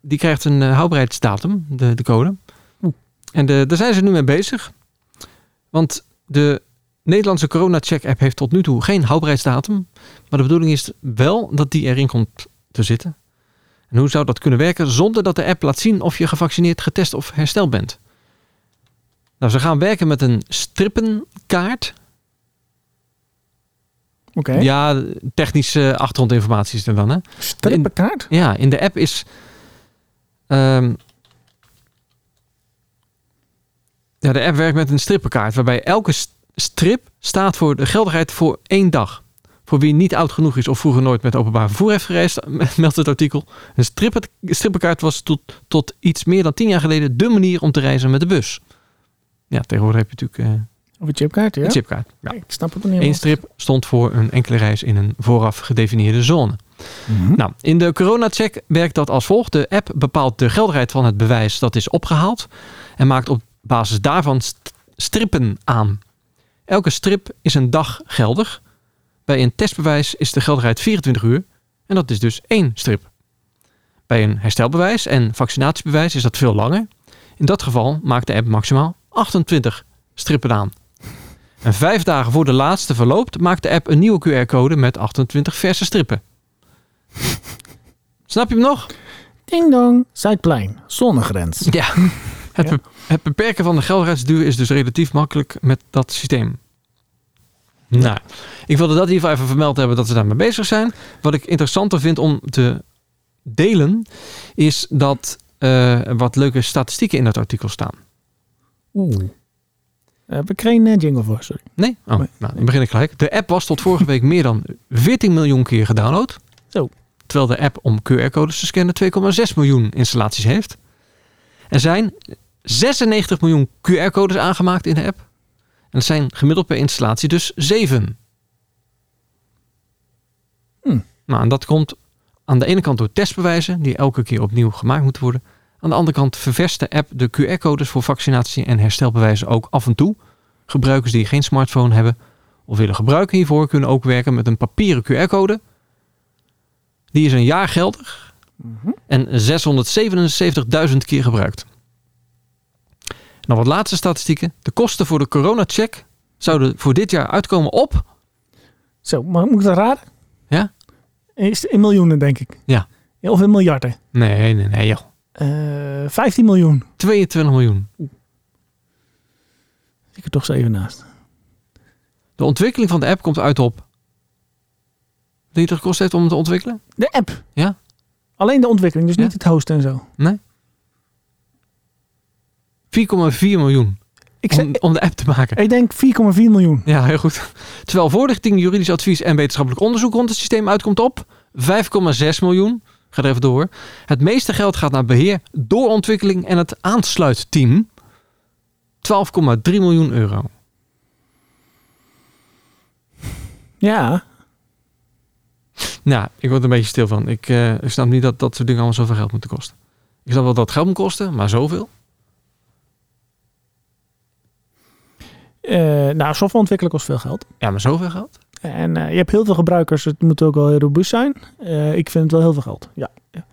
Speaker 2: die krijgt een eh, houdbaarheidsdatum, de, de code.
Speaker 1: Oeh.
Speaker 2: En de, daar zijn ze nu mee bezig. Want de Nederlandse corona-check-app heeft tot nu toe geen houdbaarheidsdatum. Maar de bedoeling is wel dat die erin komt te zitten. En hoe zou dat kunnen werken zonder dat de app laat zien of je gevaccineerd, getest of hersteld bent? Nou, ze gaan werken met een strippenkaart.
Speaker 1: Oké.
Speaker 2: Ja, technische achtergrondinformatie is er dan. Hè?
Speaker 1: Strippenkaart?
Speaker 2: Ja, in de app is. ehm, ja, de app werkt met een strippenkaart, waarbij elke s- strip staat voor de geldigheid voor één dag. Voor wie niet oud genoeg is of vroeger nooit met openbaar vervoer heeft gereisd, meldt het artikel. Een strippen, strippenkaart was tot, tot iets meer dan tien jaar geleden de manier om te reizen met de bus. Ja, tegenwoordig heb je natuurlijk eh,
Speaker 1: Of een chipkaart, ja?
Speaker 2: een chipkaart. Ja.
Speaker 1: Ik snap het nog niet
Speaker 2: Eén
Speaker 1: helemaal.
Speaker 2: strip stond voor een enkele reis in een vooraf gedefinieerde zone.
Speaker 1: Mhm.
Speaker 2: Nou, in de coronacheck werkt dat als volgt. De app bepaalt de geldigheid van het bewijs dat is opgehaald en maakt op basis daarvan st- strippen aan. Elke strip is een dag geldig. Bij een testbewijs is de geldigheid 24 uur en dat is dus één strip. Bij een herstelbewijs en vaccinatiebewijs is dat veel langer. In dat geval maakt de app maximaal 28 strippen aan. En vijf dagen voor de laatste verloopt maakt de app een nieuwe QR-code met 28 verse strippen. Snap je hem nog?
Speaker 1: Ding dong, Zuidplein, zonnegrens.
Speaker 2: Ja. Het,
Speaker 1: Ja.
Speaker 2: be- het beperken van de geldigheidsduur is dus relatief makkelijk met dat systeem. Nou, ik wilde dat in ieder geval even vermeld hebben dat ze daarmee bezig zijn. Wat ik interessanter vind om te delen, is dat eh, er wat leuke statistieken in dat artikel staan.
Speaker 1: Oeh. Daar heb ik geen eh, jingle voor, sorry.
Speaker 2: Nee? Oh,
Speaker 1: Nee.
Speaker 2: nou, dan begin ik gelijk. De app was tot vorige week meer dan 14 miljoen keer gedownload.
Speaker 1: Zo.
Speaker 2: Terwijl de app om QR-codes te scannen 2,6 miljoen installaties heeft. Er zijn 96 miljoen QR-codes aangemaakt in de app. En het zijn gemiddeld per installatie dus 7.
Speaker 1: Hm.
Speaker 2: Nou, en dat komt aan de ene kant door testbewijzen, die elke keer opnieuw gemaakt moeten worden. Aan de andere kant ververst de app de QR-codes voor vaccinatie en herstelbewijzen ook af en toe. Gebruikers die geen smartphone hebben of willen gebruiken hiervoor kunnen ook werken met een papieren QR-code. Die is een jaar geldig
Speaker 1: Mhm.
Speaker 2: en 677.000 keer gebruikt. Dan wat laatste statistieken. De kosten voor de corona-check zouden voor dit jaar uitkomen op...
Speaker 1: Zo, maar moet ik dat raden?
Speaker 2: Ja?
Speaker 1: Is in miljoenen, denk ik.
Speaker 2: Ja.
Speaker 1: Ja, Of in miljarden.
Speaker 2: Nee, nee, nee, joh.
Speaker 1: Eh 15 miljoen.
Speaker 2: 22 miljoen.
Speaker 1: Ik er toch zo even naast.
Speaker 2: De ontwikkeling van de app komt uit op... Die het gekost heeft om het te ontwikkelen?
Speaker 1: De app.
Speaker 2: Ja.
Speaker 1: Alleen de ontwikkeling, dus
Speaker 2: Ja.
Speaker 1: niet het hosten en zo.
Speaker 2: 4,4 miljoen
Speaker 1: Ik, zeg,
Speaker 2: om, om de app te maken.
Speaker 1: ik denk 4,4 miljoen.
Speaker 2: Ja, heel goed. Terwijl voorlichting, juridisch advies en wetenschappelijk onderzoek rond het systeem uitkomt op 5,6 miljoen. Ga er even door. Het meeste geld gaat naar beheer, doorontwikkeling en het aansluitteam. 12,3 miljoen euro.
Speaker 1: Ja.
Speaker 2: Nou, ik word er een beetje stil van. Ik, eh, ik snap niet dat dat soort dingen allemaal zoveel geld moeten kosten. Ik snap wel dat het geld moet kosten, maar zoveel?
Speaker 1: Eh, nou, software ontwikkelen kost veel geld.
Speaker 2: Ja, maar zoveel geld?
Speaker 1: En eh, je hebt heel veel gebruikers, het moet ook wel heel robuust zijn. Eh, ik vind het wel heel veel geld. Ja. ja.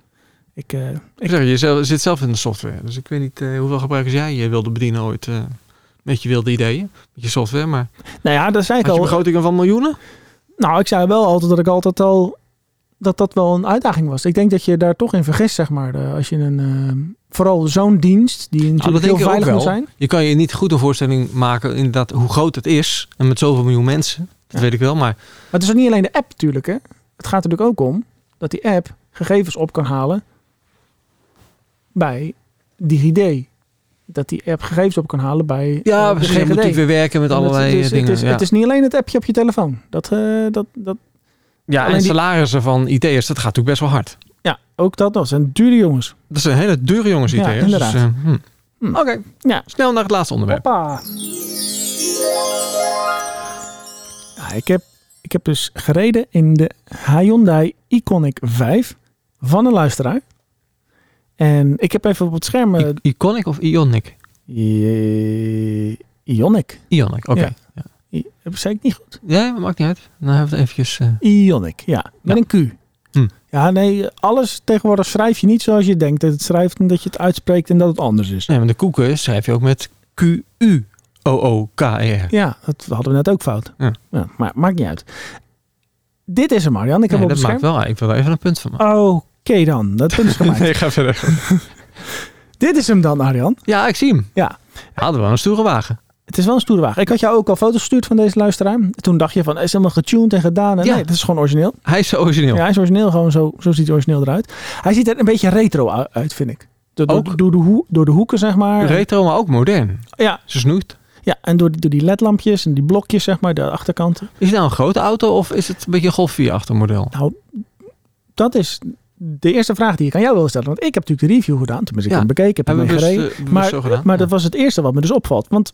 Speaker 1: Ik, eh,
Speaker 2: Ik zeg, je zel- zit zelf in de software. Dus ik weet niet eh, hoeveel gebruikers jij eh, wilde bedienen ooit. eh, met je wilde ideeën, met je software. Maar
Speaker 1: nou ja, dat zei ik
Speaker 2: had je
Speaker 1: al.
Speaker 2: begrotingen van miljoenen?
Speaker 1: Nou, ik zei wel altijd dat ik altijd al dat dat wel een uitdaging was. Ik denk dat je daar toch in vergist, zeg maar. De- als je een eh, vooral zo'n dienst die natuurlijk
Speaker 2: Nou, denk
Speaker 1: heel
Speaker 2: ik ook
Speaker 1: veilig moet
Speaker 2: wel.
Speaker 1: zijn.
Speaker 2: Je kan je niet goed een voorstelling maken inderdaad hoe groot het is. En met zoveel miljoen mensen. Dat
Speaker 1: Ja.
Speaker 2: weet ik wel. Maar
Speaker 1: Maar het is ook niet alleen de app natuurlijk. Hè. Het gaat er natuurlijk ook om dat die app gegevens op kan halen bij DigiD. Dat die app gegevens op kan halen bij
Speaker 2: ja,
Speaker 1: eh, de
Speaker 2: misschien moet
Speaker 1: GGD.
Speaker 2: natuurlijk weer werken met
Speaker 1: Want het-
Speaker 2: allerlei eh,
Speaker 1: het is,
Speaker 2: dingen.
Speaker 1: Het is,
Speaker 2: ja,
Speaker 1: het is niet alleen het appje op je telefoon. Dat, eh, dat, dat,
Speaker 2: ja en
Speaker 1: alleen die-
Speaker 2: salarissen van IT'ers, dat gaat natuurlijk best wel hard.
Speaker 1: ja, ook dat. Dat zijn dure jongens.
Speaker 2: Dat zijn hele dure jongens
Speaker 1: Ja,
Speaker 2: IT'ers. dus,
Speaker 1: inderdaad.
Speaker 2: eh, hm.
Speaker 1: Hm.
Speaker 2: Oké,
Speaker 1: Ja.
Speaker 2: snel naar het laatste onderwerp.
Speaker 1: Hoppa. Ja, ik, heb, ik heb dus gereden in de Hyundai Iconic 5 van een luisteraar. En ik heb even op het scherm... eh,
Speaker 2: I- Iconic of Ionic?
Speaker 1: I- Ionic.
Speaker 2: Ionic, oké.
Speaker 1: Ja. I- Zei ik niet goed?
Speaker 2: Nee, maakt niet uit. Dan hebben we het eventjes... eh,
Speaker 1: Ionic, ja. Met een Q.
Speaker 2: Hm.
Speaker 1: Ja, nee, alles tegenwoordig schrijf je niet zoals je denkt dat het schrijft en dat je het uitspreekt en dat het anders is.
Speaker 2: nee, want de koeken schrijf je ook met Q-U-O-O-K-E-R. E
Speaker 1: Ja, dat hadden we net ook fout.
Speaker 2: Ja.
Speaker 1: maar maakt niet uit. Dit is hem, Marian. Ik heb
Speaker 2: Nee,
Speaker 1: op het
Speaker 2: dat
Speaker 1: scherm.
Speaker 2: maakt wel. Ik wil daar even een punt van maken.
Speaker 1: Oké dan, dat punt is gemaakt.
Speaker 2: nee, ga verder.
Speaker 1: Dit is hem dan, Arjan.
Speaker 2: Ja, ik zie hem.
Speaker 1: Ja.
Speaker 2: Hadden we wel een stoere wagen.
Speaker 1: Het is wel een stoere wagen. Ik had jou ook al foto's gestuurd van deze luisteraar. Toen dacht je van, is helemaal getuned en gedaan. En
Speaker 2: Ja.
Speaker 1: Nee, dat is gewoon origineel.
Speaker 2: Hij is zo origineel.
Speaker 1: Ja, hij is origineel, gewoon zo, zo ziet hij origineel eruit. Hij ziet er een beetje retro u- uit, vind ik. Door, door,
Speaker 2: Ook.
Speaker 1: door de, hoe- door de hoeken, zeg maar.
Speaker 2: Retro, maar ook modern.
Speaker 1: Ja.
Speaker 2: Ze snoeit.
Speaker 1: ja, en door, die- door die ledlampjes en die blokjes, zeg maar, de achterkant.
Speaker 2: Is het nou een grote auto of is het een beetje een Golf 4 achtermodel?
Speaker 1: Nou, Dat is de eerste vraag die ik aan jou wil stellen. Want ik heb natuurlijk de review gedaan. Tenminste, ik
Speaker 2: Ja.
Speaker 1: heb hem bekeken, ik heb
Speaker 2: Hebben
Speaker 1: hem
Speaker 2: we
Speaker 1: gereden.
Speaker 2: bewust, eh, bewust
Speaker 1: Maar,
Speaker 2: zo gedaan?
Speaker 1: maar
Speaker 2: Ja.
Speaker 1: dat was het eerste wat me dus opvalt. Want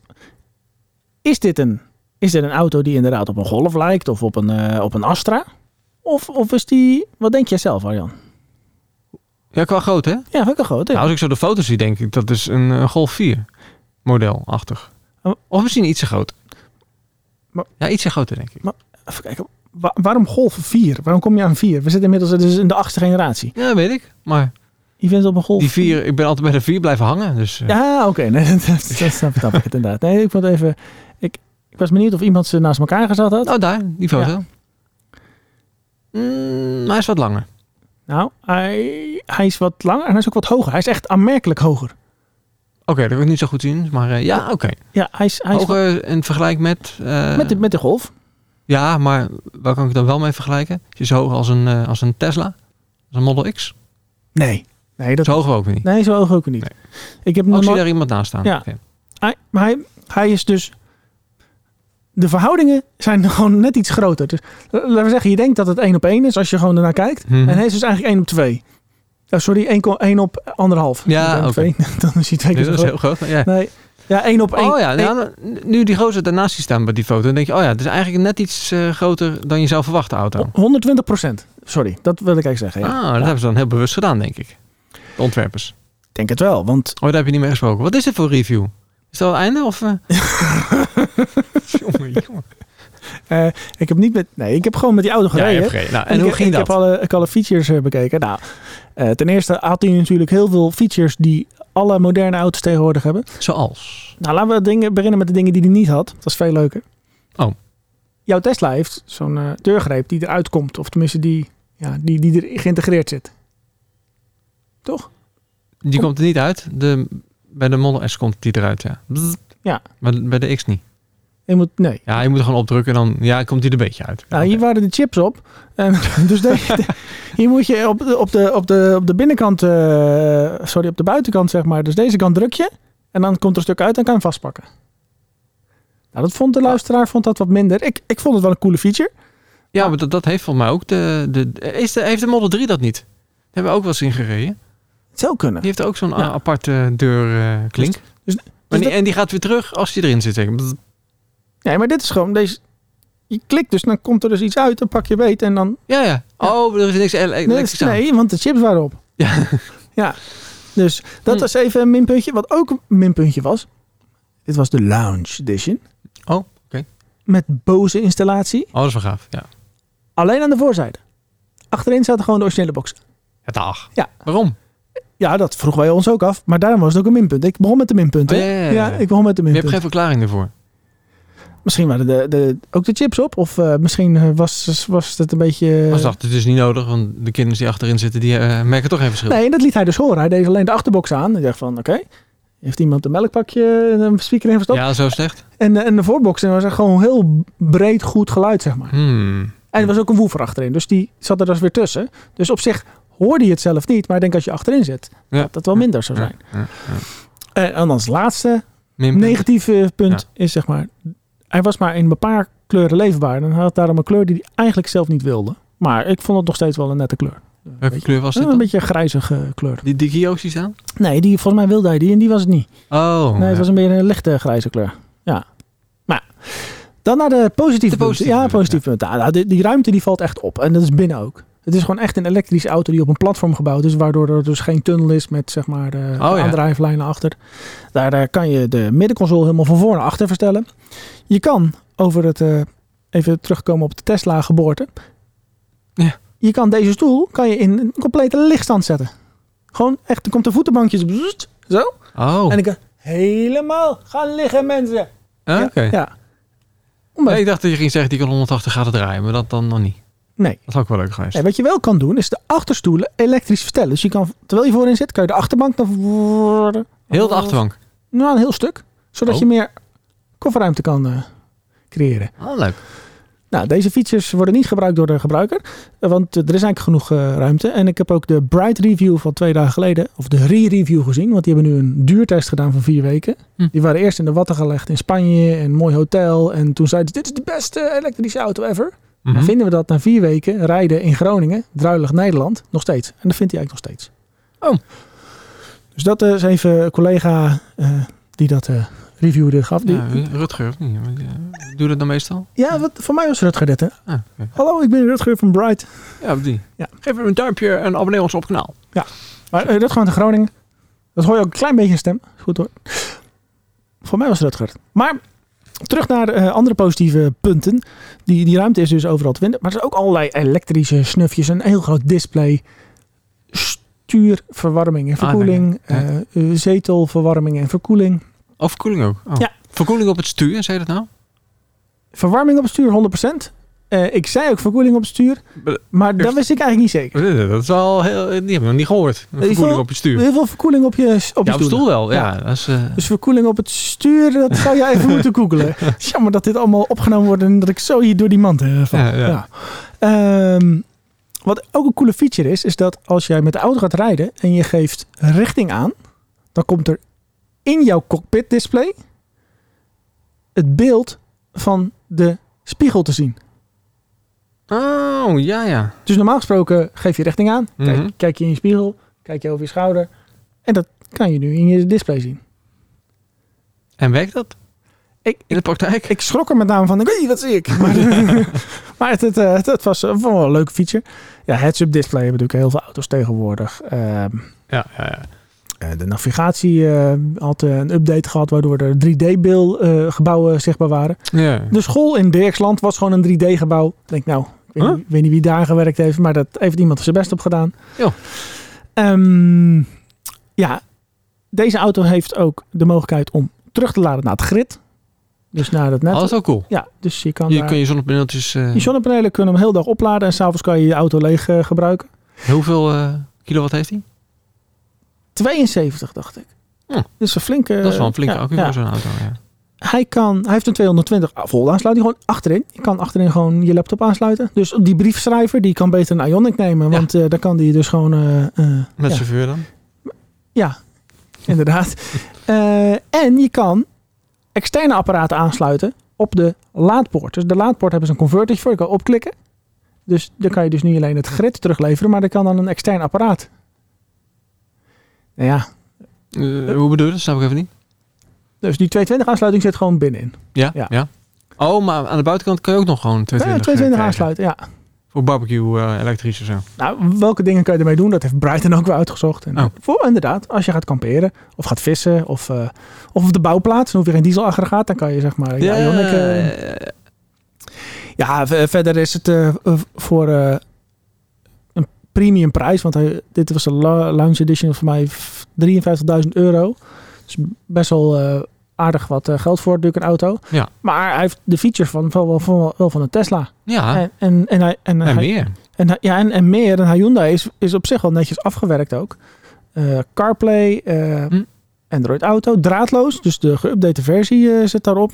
Speaker 1: is dit een, is dit een auto die inderdaad op een Golf lijkt of op een, eh, op een Astra? Of, of is die... Wat denk jij zelf, Arjan?
Speaker 2: Ja, qua groot, hè?
Speaker 1: Ja, vind ik een grote.
Speaker 2: Nou, als ik zo de foto's zie, denk ik dat is een, eh, Golf 4 modelachtig.
Speaker 1: Oh.
Speaker 2: Of misschien iets te groot.
Speaker 1: Maar-
Speaker 2: Ja, iets te groter, denk ik.
Speaker 1: Nou, Even kijken. Wa- waarom Golf 4? Waarom kom je aan 4? We zitten inmiddels dus in de achtste generatie.
Speaker 2: Ja, weet ik. Maar
Speaker 1: Je vindt het op een Golf
Speaker 2: die vier, ik ben altijd bij de vier blijven hangen. Dus eh,
Speaker 1: Ja, oké. Nee, dat, dat, dat snap, snap ik het inderdaad. Nee, ik vond even... Ik, ik was benieuwd of iemand ze naast elkaar gezet had.
Speaker 2: Oh, daar, die foto. Mm, maar hij is wat langer.
Speaker 1: Nou, hij, hij is wat langer en hij is ook wat hoger. Hij is echt aanmerkelijk hoger.
Speaker 2: Oké, dat kan ik niet zo goed zien. Maar eh, ja, oké.
Speaker 1: Ja, hij is... Hij is
Speaker 2: Hoger in vergelijk met... eh,
Speaker 1: met, de, met de Golf.
Speaker 2: Ja, maar waar kan ik het dan wel mee vergelijken? Is je zo hoog als een, eh, als een Tesla? Als een Model X?
Speaker 1: Nee. Nee, dat
Speaker 2: Zo hoog ook weer niet.
Speaker 1: Nee, zo hoog ook niet. Ik heb nog
Speaker 2: Ook zie je
Speaker 1: nooit-
Speaker 2: daar iemand naast staan.
Speaker 1: Ja.
Speaker 2: Oké.
Speaker 1: hij, maar hij, hij is dus... De verhoudingen zijn gewoon net iets groter. Dus eh, laten we zeggen, je denkt dat het één op één is als je gewoon ernaar kijkt.
Speaker 2: Mhm.
Speaker 1: En hij is dus eigenlijk één op twee. Oh, sorry, één, ko- één op anderhalf.
Speaker 2: Ja,
Speaker 1: Eén op
Speaker 2: oké.
Speaker 1: twee. Dan is hij twee keer
Speaker 2: Dit
Speaker 1: zo
Speaker 2: is
Speaker 1: groot.
Speaker 2: heel groot. Ja.
Speaker 1: Nee, ja, één op dus één.
Speaker 2: Oh ja,
Speaker 1: Eén-
Speaker 2: nou, nu die gozer daarnaast ziet staan bij die foto, dan denk je, oh ja, het is eigenlijk net iets eh, groter dan je zou verwachten, auto.
Speaker 1: ho- 120 procent. Sorry, dat wil ik eigenlijk zeggen. Oh, ja.
Speaker 2: Ah, dat hebben ze dan heel bewust gedaan, denk ik. De ontwerpers.
Speaker 1: Ik denk het wel, want
Speaker 2: Oh, daar heb je niet mee gesproken. Wat is dit voor review? Is dat het einde? Of, eh? jongen, jongen.
Speaker 1: eh, ik heb niet met... Nee, ik heb gewoon met die auto
Speaker 2: Ja,
Speaker 1: gereden.
Speaker 2: je hebt gereden. Nou, en
Speaker 1: ik,
Speaker 2: hoe
Speaker 1: ik
Speaker 2: ging dat?
Speaker 1: heb alle, ik alle features eh, bekeken. Nou, eh, ten eerste had hij natuurlijk heel veel features die alle moderne auto's tegenwoordig hebben.
Speaker 2: Zoals?
Speaker 1: Nou, laten we dingen, beginnen met de dingen die hij niet had. Dat is veel leuker.
Speaker 2: Oh.
Speaker 1: Jouw Tesla heeft zo'n eh, deurgreep die eruit komt. Of tenminste die, ja, die, die er geïntegreerd zit. Toch?
Speaker 2: Die komt er niet uit. De, bij de Model S komt die eruit, ja.
Speaker 1: Ja.
Speaker 2: Maar bij de X niet.
Speaker 1: Je moet, nee.
Speaker 2: Ja, je moet er gewoon opdrukken en dan ja, komt die er een beetje uit.
Speaker 1: Nou,
Speaker 2: Oké.
Speaker 1: hier waren de chips op. En, dus de- de- hier moet je op de, op de, op de, op de binnenkant, eh, sorry, op de buitenkant zeg maar. Dus deze kant druk je en dan komt er een stuk uit en kan je hem vastpakken. Nou, dat vond de luisteraar vond dat wat minder. Ik, ik vond het wel een coole feature.
Speaker 2: Ja, maar dat, dat heeft volgens mij ook de... de, is de heeft de Model 3 dat niet? Daar hebben we ook wel eens in gereden.
Speaker 1: Het zou kunnen.
Speaker 2: Die heeft ook zo'n
Speaker 1: Ja.
Speaker 2: a- aparte deurklink.
Speaker 1: Dus- dus-
Speaker 2: maar die,
Speaker 1: dat-
Speaker 2: en die gaat weer terug als die erin zit. Zeg. maar.
Speaker 1: Nee, maar dit is gewoon deze. Je klikt dus, dan komt er dus iets uit, dan pak je weet en dan.
Speaker 2: Ja, ja. Oh, er is niks ele-
Speaker 1: Nee,
Speaker 2: elektrisch aan.
Speaker 1: nee, want de chips waren op.
Speaker 2: Ja.
Speaker 1: Ja. Dus dat
Speaker 2: Hm.
Speaker 1: was even een minpuntje. Wat ook een minpuntje was. Dit was de Lounge Edition.
Speaker 2: Oh, oké.
Speaker 1: Met Bose installatie.
Speaker 2: Oh, dat is wel gaaf. Ja.
Speaker 1: Alleen aan de voorzijde. Achterin zaten gewoon de originele boxen.
Speaker 2: Het dag.
Speaker 1: Ja.
Speaker 2: Waarom?
Speaker 1: Ja, dat vroegen wij ons ook af. Maar daarom was het ook een minpunt. Ik begon met de minpunten.
Speaker 2: Oh, ja, ja, ja, ja.
Speaker 1: ik begon met de
Speaker 2: Je hebt
Speaker 1: minpunten.
Speaker 2: geen verklaring ervoor.
Speaker 1: Misschien waren de, de, ook de chips op. Of eh, misschien eh, was, was het een beetje...
Speaker 2: Als dacht, het is niet nodig, want de kinderen die achterin zitten, die eh, merken toch geen verschil.
Speaker 1: Nee, dat liet hij dus horen. Hij deed alleen de achterbox aan. Hij dacht van, oké, heeft iemand een melkpakje en een speaker in gestopt?
Speaker 2: ja, zo slecht.
Speaker 1: En, eh, en de voorbox en was echt gewoon heel breed goed geluid, zeg maar.
Speaker 2: Hmm.
Speaker 1: En er was ook een woefer achterin, dus die zat er dus weer tussen. Dus op zich hoorde je het zelf niet, maar ik denk als je achterin zit,
Speaker 2: Ja.
Speaker 1: dat dat wel minder zou zijn.
Speaker 2: Ja, ja, ja.
Speaker 1: Eh, en als laatste
Speaker 2: Minpunt.
Speaker 1: negatieve punt is, zeg maar, hij was maar in een paar kleuren leefbaar. En hij had daarom een kleur die hij eigenlijk zelf niet wilde. Maar ik vond het nog steeds wel een nette kleur.
Speaker 2: Welke kleur was dit
Speaker 1: Een
Speaker 2: dan?
Speaker 1: beetje een grijzige kleur.
Speaker 2: Die, die ik hier ook zie staan?
Speaker 1: Nee, die, volgens mij wilde hij die en die was het niet.
Speaker 2: Oh,
Speaker 1: Nee, het
Speaker 2: ja.
Speaker 1: was een beetje een lichte grijze kleur. Ja. Maar ja. dan naar de positieve
Speaker 2: De positieve
Speaker 1: punten. Ja,
Speaker 2: punten,
Speaker 1: positieve punten. Ah, nou, die, die ruimte die valt echt op. En dat is binnen ook. Het is gewoon echt een elektrische auto die op een platform gebouwd is. Waardoor er dus geen tunnel is met zeg maar de
Speaker 2: Oh, ja.
Speaker 1: aandrijflijnen achter. Daar eh, kan je de middenconsole helemaal van voor naar achter verstellen. Je kan over het... eh, even terugkomen op de Tesla geboorte.
Speaker 2: Ja.
Speaker 1: Je kan deze stoel kan je in een complete lichtstand zetten. Gewoon echt, er komt de voetenbankjes zo.
Speaker 2: Oh,
Speaker 1: En ik dacht, helemaal gaan liggen mensen.
Speaker 2: oké.
Speaker 1: Ja. Omdat-
Speaker 2: Nee, ik dacht dat je ging zeggen, die kan 180 graden draaien, maar dat dan nog niet.
Speaker 1: Nee.
Speaker 2: Dat had ook wel leuk geweest.
Speaker 1: nee. Wat je wel kan doen, is de achterstoelen elektrisch verstellen. Dus je kan, terwijl je voorin zit, kan je de achterbank dan...
Speaker 2: Heel de achterbank.
Speaker 1: Nou, een heel stuk. Zodat
Speaker 2: Oh.
Speaker 1: je meer kofferruimte kan eh, creëren.
Speaker 2: Oh, leuk.
Speaker 1: Nou, deze features worden niet gebruikt door de gebruiker, eh, want eh, er is eigenlijk genoeg eh, ruimte. En ik heb ook de Bright Review van twee dagen geleden, of de re-review gezien, want die hebben nu een duurtest gedaan van vier weken.
Speaker 2: Hm.
Speaker 1: Die waren eerst in de watten gelegd in Spanje, een mooi hotel. En toen zeiden ze, dit is de beste elektrische auto ever.
Speaker 2: Mhm.
Speaker 1: Dan vinden we dat na vier weken rijden in Groningen, druilig Nederland, nog steeds. En dat vindt hij eigenlijk nog steeds.
Speaker 2: Oh.
Speaker 1: Dus dat eh, is even een collega eh, die dat eh, reviewde gaf. Die, ja,
Speaker 2: Rutger, of niet? Want, eh, Doe dat dan meestal?
Speaker 1: wat, voor mij was Rutger dit. hè.
Speaker 2: Ah, oké.
Speaker 1: Hallo, ik ben Rutger van Bright.
Speaker 2: Ja, op die.
Speaker 1: Ja.
Speaker 2: Geef even een duimpje en abonneer ons op het kanaal.
Speaker 1: Maar eh, Rutger uit Groningen, dat hoor je ook een klein beetje in stem. Is Goed hoor. Voor mij was Rutger. Maar terug naar eh, andere positieve punten. Die, die ruimte is dus overal te vinden. Maar er zijn ook allerlei elektrische snufjes. Een heel groot display. Stuurverwarming en verkoeling.
Speaker 2: Ah, nee,
Speaker 1: eh, eh, zetelverwarming en verkoeling.
Speaker 2: Of verkoeling ook. Oh.
Speaker 1: Ja.
Speaker 2: Verkoeling op het stuur, zei je dat nou?
Speaker 1: Verwarming op het stuur 100%. Eh, ik zei ook verkoeling op het stuur.
Speaker 2: Maar-
Speaker 1: Maar dat wist ik eigenlijk niet zeker.
Speaker 2: Dat is al heel... Die hebben we nog niet gehoord. Verkoeling
Speaker 1: vond-
Speaker 2: op het stuur.
Speaker 1: Heel veel verkoeling op je, op je
Speaker 2: ja, op het
Speaker 1: stoelen.
Speaker 2: stoel wel. Ja,
Speaker 1: Ja.
Speaker 2: dat is... eh,
Speaker 1: Dus verkoeling op het stuur, dat zou jij even moeten googelen. Het is Jammer dat dit allemaal opgenomen wordt en dat ik zo hier door die mand eh, val.
Speaker 2: Ja, ja.
Speaker 1: Ehm, wat ook een coole feature is, is dat als jij met de auto gaat rijden en je geeft richting aan, dan komt er in jouw cockpit display het beeld van de spiegel te zien.
Speaker 2: Oh, ja, ja.
Speaker 1: Dus normaal gesproken geef je richting aan, kijk,
Speaker 2: Mhm.
Speaker 1: kijk je in je spiegel, kijk je over je schouder en dat kan je nu in je display zien.
Speaker 2: En werkt dat?
Speaker 1: Ik,
Speaker 2: In de praktijk?
Speaker 1: Ik schrok er met name van. Ik weet niet, wat zie ik? Maar, maar het, het, eh, het, het was eh, vond ik wel een leuke feature. Ja, heads-up display hebben natuurlijk heel veel auto's tegenwoordig. Ehm,
Speaker 2: Ja, ja, ja.
Speaker 1: eh, de navigatie eh, had eh, een update gehad waardoor er 3D-gebouwen zichtbaar waren.
Speaker 2: ja.
Speaker 1: De school in Dirksland was gewoon een 3D-gebouw. Ik denk, nou, ik weet,
Speaker 2: Huh?
Speaker 1: niet, ik weet niet wie daar gewerkt heeft, maar dat heeft iemand er zijn best op gedaan.
Speaker 2: Joh.
Speaker 1: Ehm, ja, deze auto heeft ook de mogelijkheid om terug te laden naar het grid. Dus naar het net.
Speaker 2: Oh, dat is wel cool.
Speaker 1: Ja, dus je kan,
Speaker 2: Je
Speaker 1: daar-
Speaker 2: kun je zonnepaneeltjes... eh,
Speaker 1: je zonnepanelen kunnen hem heel dag opladen en s'avonds kan je je auto leeg eh, gebruiken.
Speaker 2: Hoeveel eh, kilowatt heeft hij?
Speaker 1: 72, dacht ik.
Speaker 2: Hm.
Speaker 1: Dat is een flinke...
Speaker 2: Dat is wel een flinke
Speaker 1: Eh, ja,
Speaker 2: accu
Speaker 1: ja.
Speaker 2: voor zo'n auto, ja.
Speaker 1: Hij, kan, hij heeft een 220 volt aansluiting gewoon achterin. Je kan achterin gewoon je laptop aansluiten. Dus die briefschrijver die kan beter een Ionic nemen.
Speaker 2: Ja.
Speaker 1: Want eh dan kan die dus gewoon... eh, eh,
Speaker 2: Met
Speaker 1: ja,
Speaker 2: chauffeur dan?
Speaker 1: inderdaad. Eh, en je kan externe apparaten aansluiten op de laadpoort. Dus de laadpoort hebben ze een convertertje voor. Je kan opklikken. Dus dan kan je dus niet alleen het grid terugleveren, maar er kan dan een extern apparaat. Nou ja,
Speaker 2: Eh, hoe bedoel je dat? Snap ik even niet.
Speaker 1: dus die 220 aansluiting zit gewoon binnenin.
Speaker 2: Ja? Ja.
Speaker 1: Ja.
Speaker 2: Oh, maar aan de buitenkant kan je ook nog gewoon
Speaker 1: Ja,
Speaker 2: 220
Speaker 1: 220
Speaker 2: krijgen.
Speaker 1: Eh, aansluiten, ja.
Speaker 2: Voor barbecue eh, elektrisch of zo.
Speaker 1: Nou, welke dingen kan je ermee doen? Dat heeft Brighton ook weer uitgezocht. En
Speaker 2: Oh.
Speaker 1: voor, inderdaad, als je gaat kamperen of gaat vissen of, eh, of op de bouwplaats, dan hoef je geen dieselaggregaat, dan kan je zeg maar... Ja, Ionic, eh,
Speaker 2: eh,
Speaker 1: Ja, v- verder is het eh, v- voor eh, een premium prijs. Want hij, dit was de la- launch edition voor mij v- 53.000 euro. Dus best wel eh, aardig wat eh, geld voor natuurlijk een auto.
Speaker 2: Ja.
Speaker 1: Maar hij heeft de feature van, van, wel- van, wel van een Tesla.
Speaker 2: ja,
Speaker 1: En, en, en, hij, en,
Speaker 2: en
Speaker 1: hij-
Speaker 2: meer.
Speaker 1: en, hij- ja, en, en meer. En Hyundai is, is op zich wel netjes afgewerkt ook. Eh, CarPlay, eh,
Speaker 2: Hm.
Speaker 1: Android Auto, draadloos. Dus de geüpdate versie eh, zit daarop.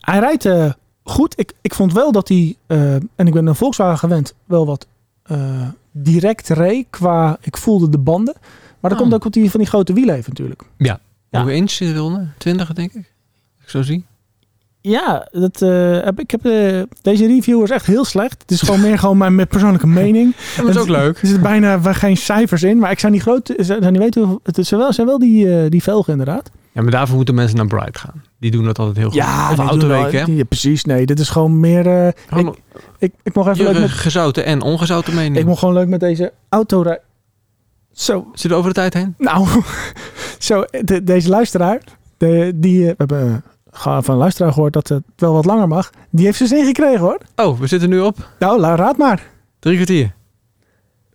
Speaker 1: Hij rijdt eh, goed. Ik, ik vond wel dat hij, eh, en ik ben een Volkswagen gewend, wel wat eh, direct reed qua... Ik voelde de banden. Maar dat
Speaker 2: Ah.
Speaker 1: komt ook omdat hij van die grote wielen heeft natuurlijk. Ja.
Speaker 2: Hoeveel inch zit eronder? 20 denk ik. Als Ik zo zie.
Speaker 1: Ja, dat, eh, heb, ik heb, eh, deze review is echt heel slecht. Het is gewoon meer gewoon mijn, mijn persoonlijke mening.
Speaker 2: dat is ook leuk.
Speaker 1: Er zitten bijna wa- geen cijfers in, maar ik zou niet groot, ik zou niet weten hoe, het zijn wel, zijn wel die, eh, die velgen inderdaad.
Speaker 2: Ja, maar daarvoor moeten mensen naar Bright gaan. Die doen dat altijd heel goed. of
Speaker 1: nee,
Speaker 2: Autoweek,
Speaker 1: doen wel-
Speaker 2: hè?
Speaker 1: ja, precies. Nee, dit is gewoon meer. eh,
Speaker 2: Gewoon
Speaker 1: ik, ik mocht even leuk
Speaker 2: je
Speaker 1: met,
Speaker 2: gezouten en ongezouten mening.
Speaker 1: ik mocht gewoon leuk met deze auto rij- Zo,
Speaker 2: Zit er over de tijd heen?
Speaker 1: nou, zo de- deze luisteraar, de, die eh, we hebben eh, van een luisteraar gehoord dat het wel wat langer mag. Die heeft zijn zin gekregen, hoor.
Speaker 2: Oh, we zitten nu op
Speaker 1: Nou, la- raad maar.
Speaker 2: drie kwartier.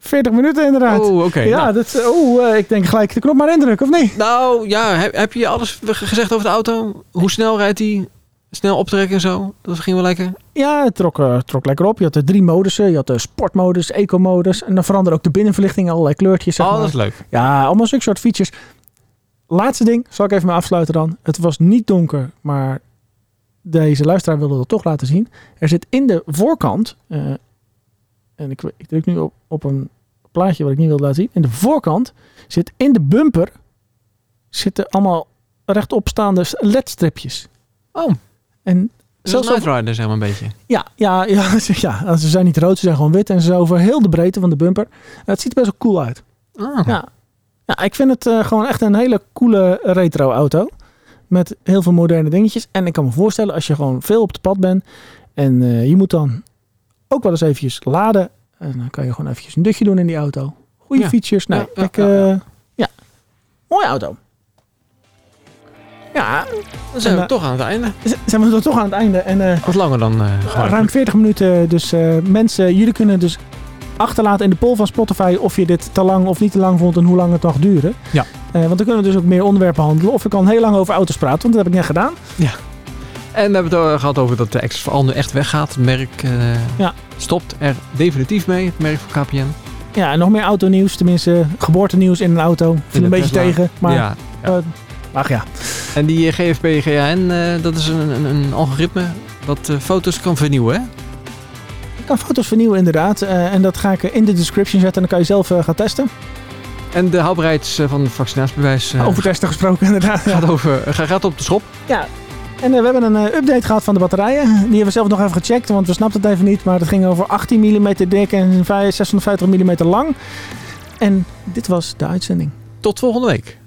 Speaker 1: 40 minuten inderdaad.
Speaker 2: Oh, oké.
Speaker 1: ja,
Speaker 2: nou.
Speaker 1: dat. Oh, eh, ik denk gelijk de knop maar indruk, of niet?
Speaker 2: Nou ja, heb, heb je alles ge- gezegd over de auto? Hoe snel rijdt hij? Snel optrekken en zo. Dat ging wel lekker.
Speaker 1: Ja, het trok, eh, trok lekker op. Je had de drie modussen. Je had de sportmodus, eco-modus. En dan veranderde ook de binnenverlichting in allerlei kleurtjes. Zeg
Speaker 2: Oh,
Speaker 1: maar.
Speaker 2: dat is leuk.
Speaker 1: Ja, allemaal zulke soort features. Laatste ding, zal ik even mee afsluiten dan. Het was niet donker, maar deze luisteraar wilde dat toch laten zien. Er zit in de voorkant, eh, en ik, ik druk nu op, op een plaatje wat ik niet wilde laten zien. In de voorkant zit in de bumper zitten allemaal rechtopstaande ledstripjes.
Speaker 2: Oh,
Speaker 1: En
Speaker 2: is dat
Speaker 1: zelfs
Speaker 2: is Knight Rider zeg maar een beetje.
Speaker 1: ja, ja, ja, ze- ja, ze zijn niet rood, ze zijn gewoon wit. En ze zijn over heel de breedte van de bumper. Eh, Het ziet er best wel cool uit.
Speaker 2: Ah,
Speaker 1: Ja. Ja, ik vind het eh, gewoon echt een hele coole retro auto. Met heel veel moderne dingetjes. En ik kan me voorstellen, als je gewoon veel op het pad bent. En eh, je moet dan ook wel eens eventjes laden. En dan kan je gewoon eventjes een dutje doen in die auto. Goede
Speaker 2: Ja.
Speaker 1: features. Nee,
Speaker 2: Ja, ja,
Speaker 1: ik,
Speaker 2: ja,
Speaker 1: eh,
Speaker 2: ja.
Speaker 1: ja. Mooie auto. Ja,
Speaker 2: dan zijn we
Speaker 1: En,
Speaker 2: toch aan het einde.
Speaker 1: z- zijn we dan toch aan het einde. En eh,
Speaker 2: Wat langer dan eh gewoon.
Speaker 1: Ruim 40 minuten. Dus eh, mensen, jullie kunnen dus achterlaten in de poll van Spotify of je dit te lang of niet te lang vond en hoe lang het mag duren.
Speaker 2: Ja.
Speaker 1: Eh, want dan kunnen we dus ook meer onderwerpen handelen. Of ik kan heel lang over auto's praten, want dat heb ik net gedaan.
Speaker 2: En we hebben het eh, gehad over dat de Access for All nu echt weggaat. Het merk eh,
Speaker 1: Ja.
Speaker 2: stopt er definitief mee, het merk van KPN.
Speaker 1: Ja, en nog meer autonieuws, tenminste geboortenieuws in een auto. Viel
Speaker 2: de
Speaker 1: een beetje
Speaker 2: Tesla.
Speaker 1: tegen, maar
Speaker 2: ja.
Speaker 1: ach ja.
Speaker 2: En die eh, GFP, GAN, eh, dat is een, een, een algoritme dat eh, foto's kan vernieuwen. Hè?
Speaker 1: Ik kan foto's vernieuwen inderdaad. Eh, en dat ga ik eh, in de description zetten en dan kan je zelf eh, gaan testen.
Speaker 2: En de houdbaarheid eh, van het vaccinatiebewijs eh,
Speaker 1: Over testen gesproken inderdaad. Ja.
Speaker 2: gaat, over, eh, gaat op de schop.
Speaker 1: En eh, we hebben een eh, update gehad van de batterijen. Die hebben we zelf nog even gecheckt, want we snapten het even niet. Maar dat ging over 18 mm dik en vij- 650 mm lang. En dit was de uitzending.
Speaker 2: Tot volgende week.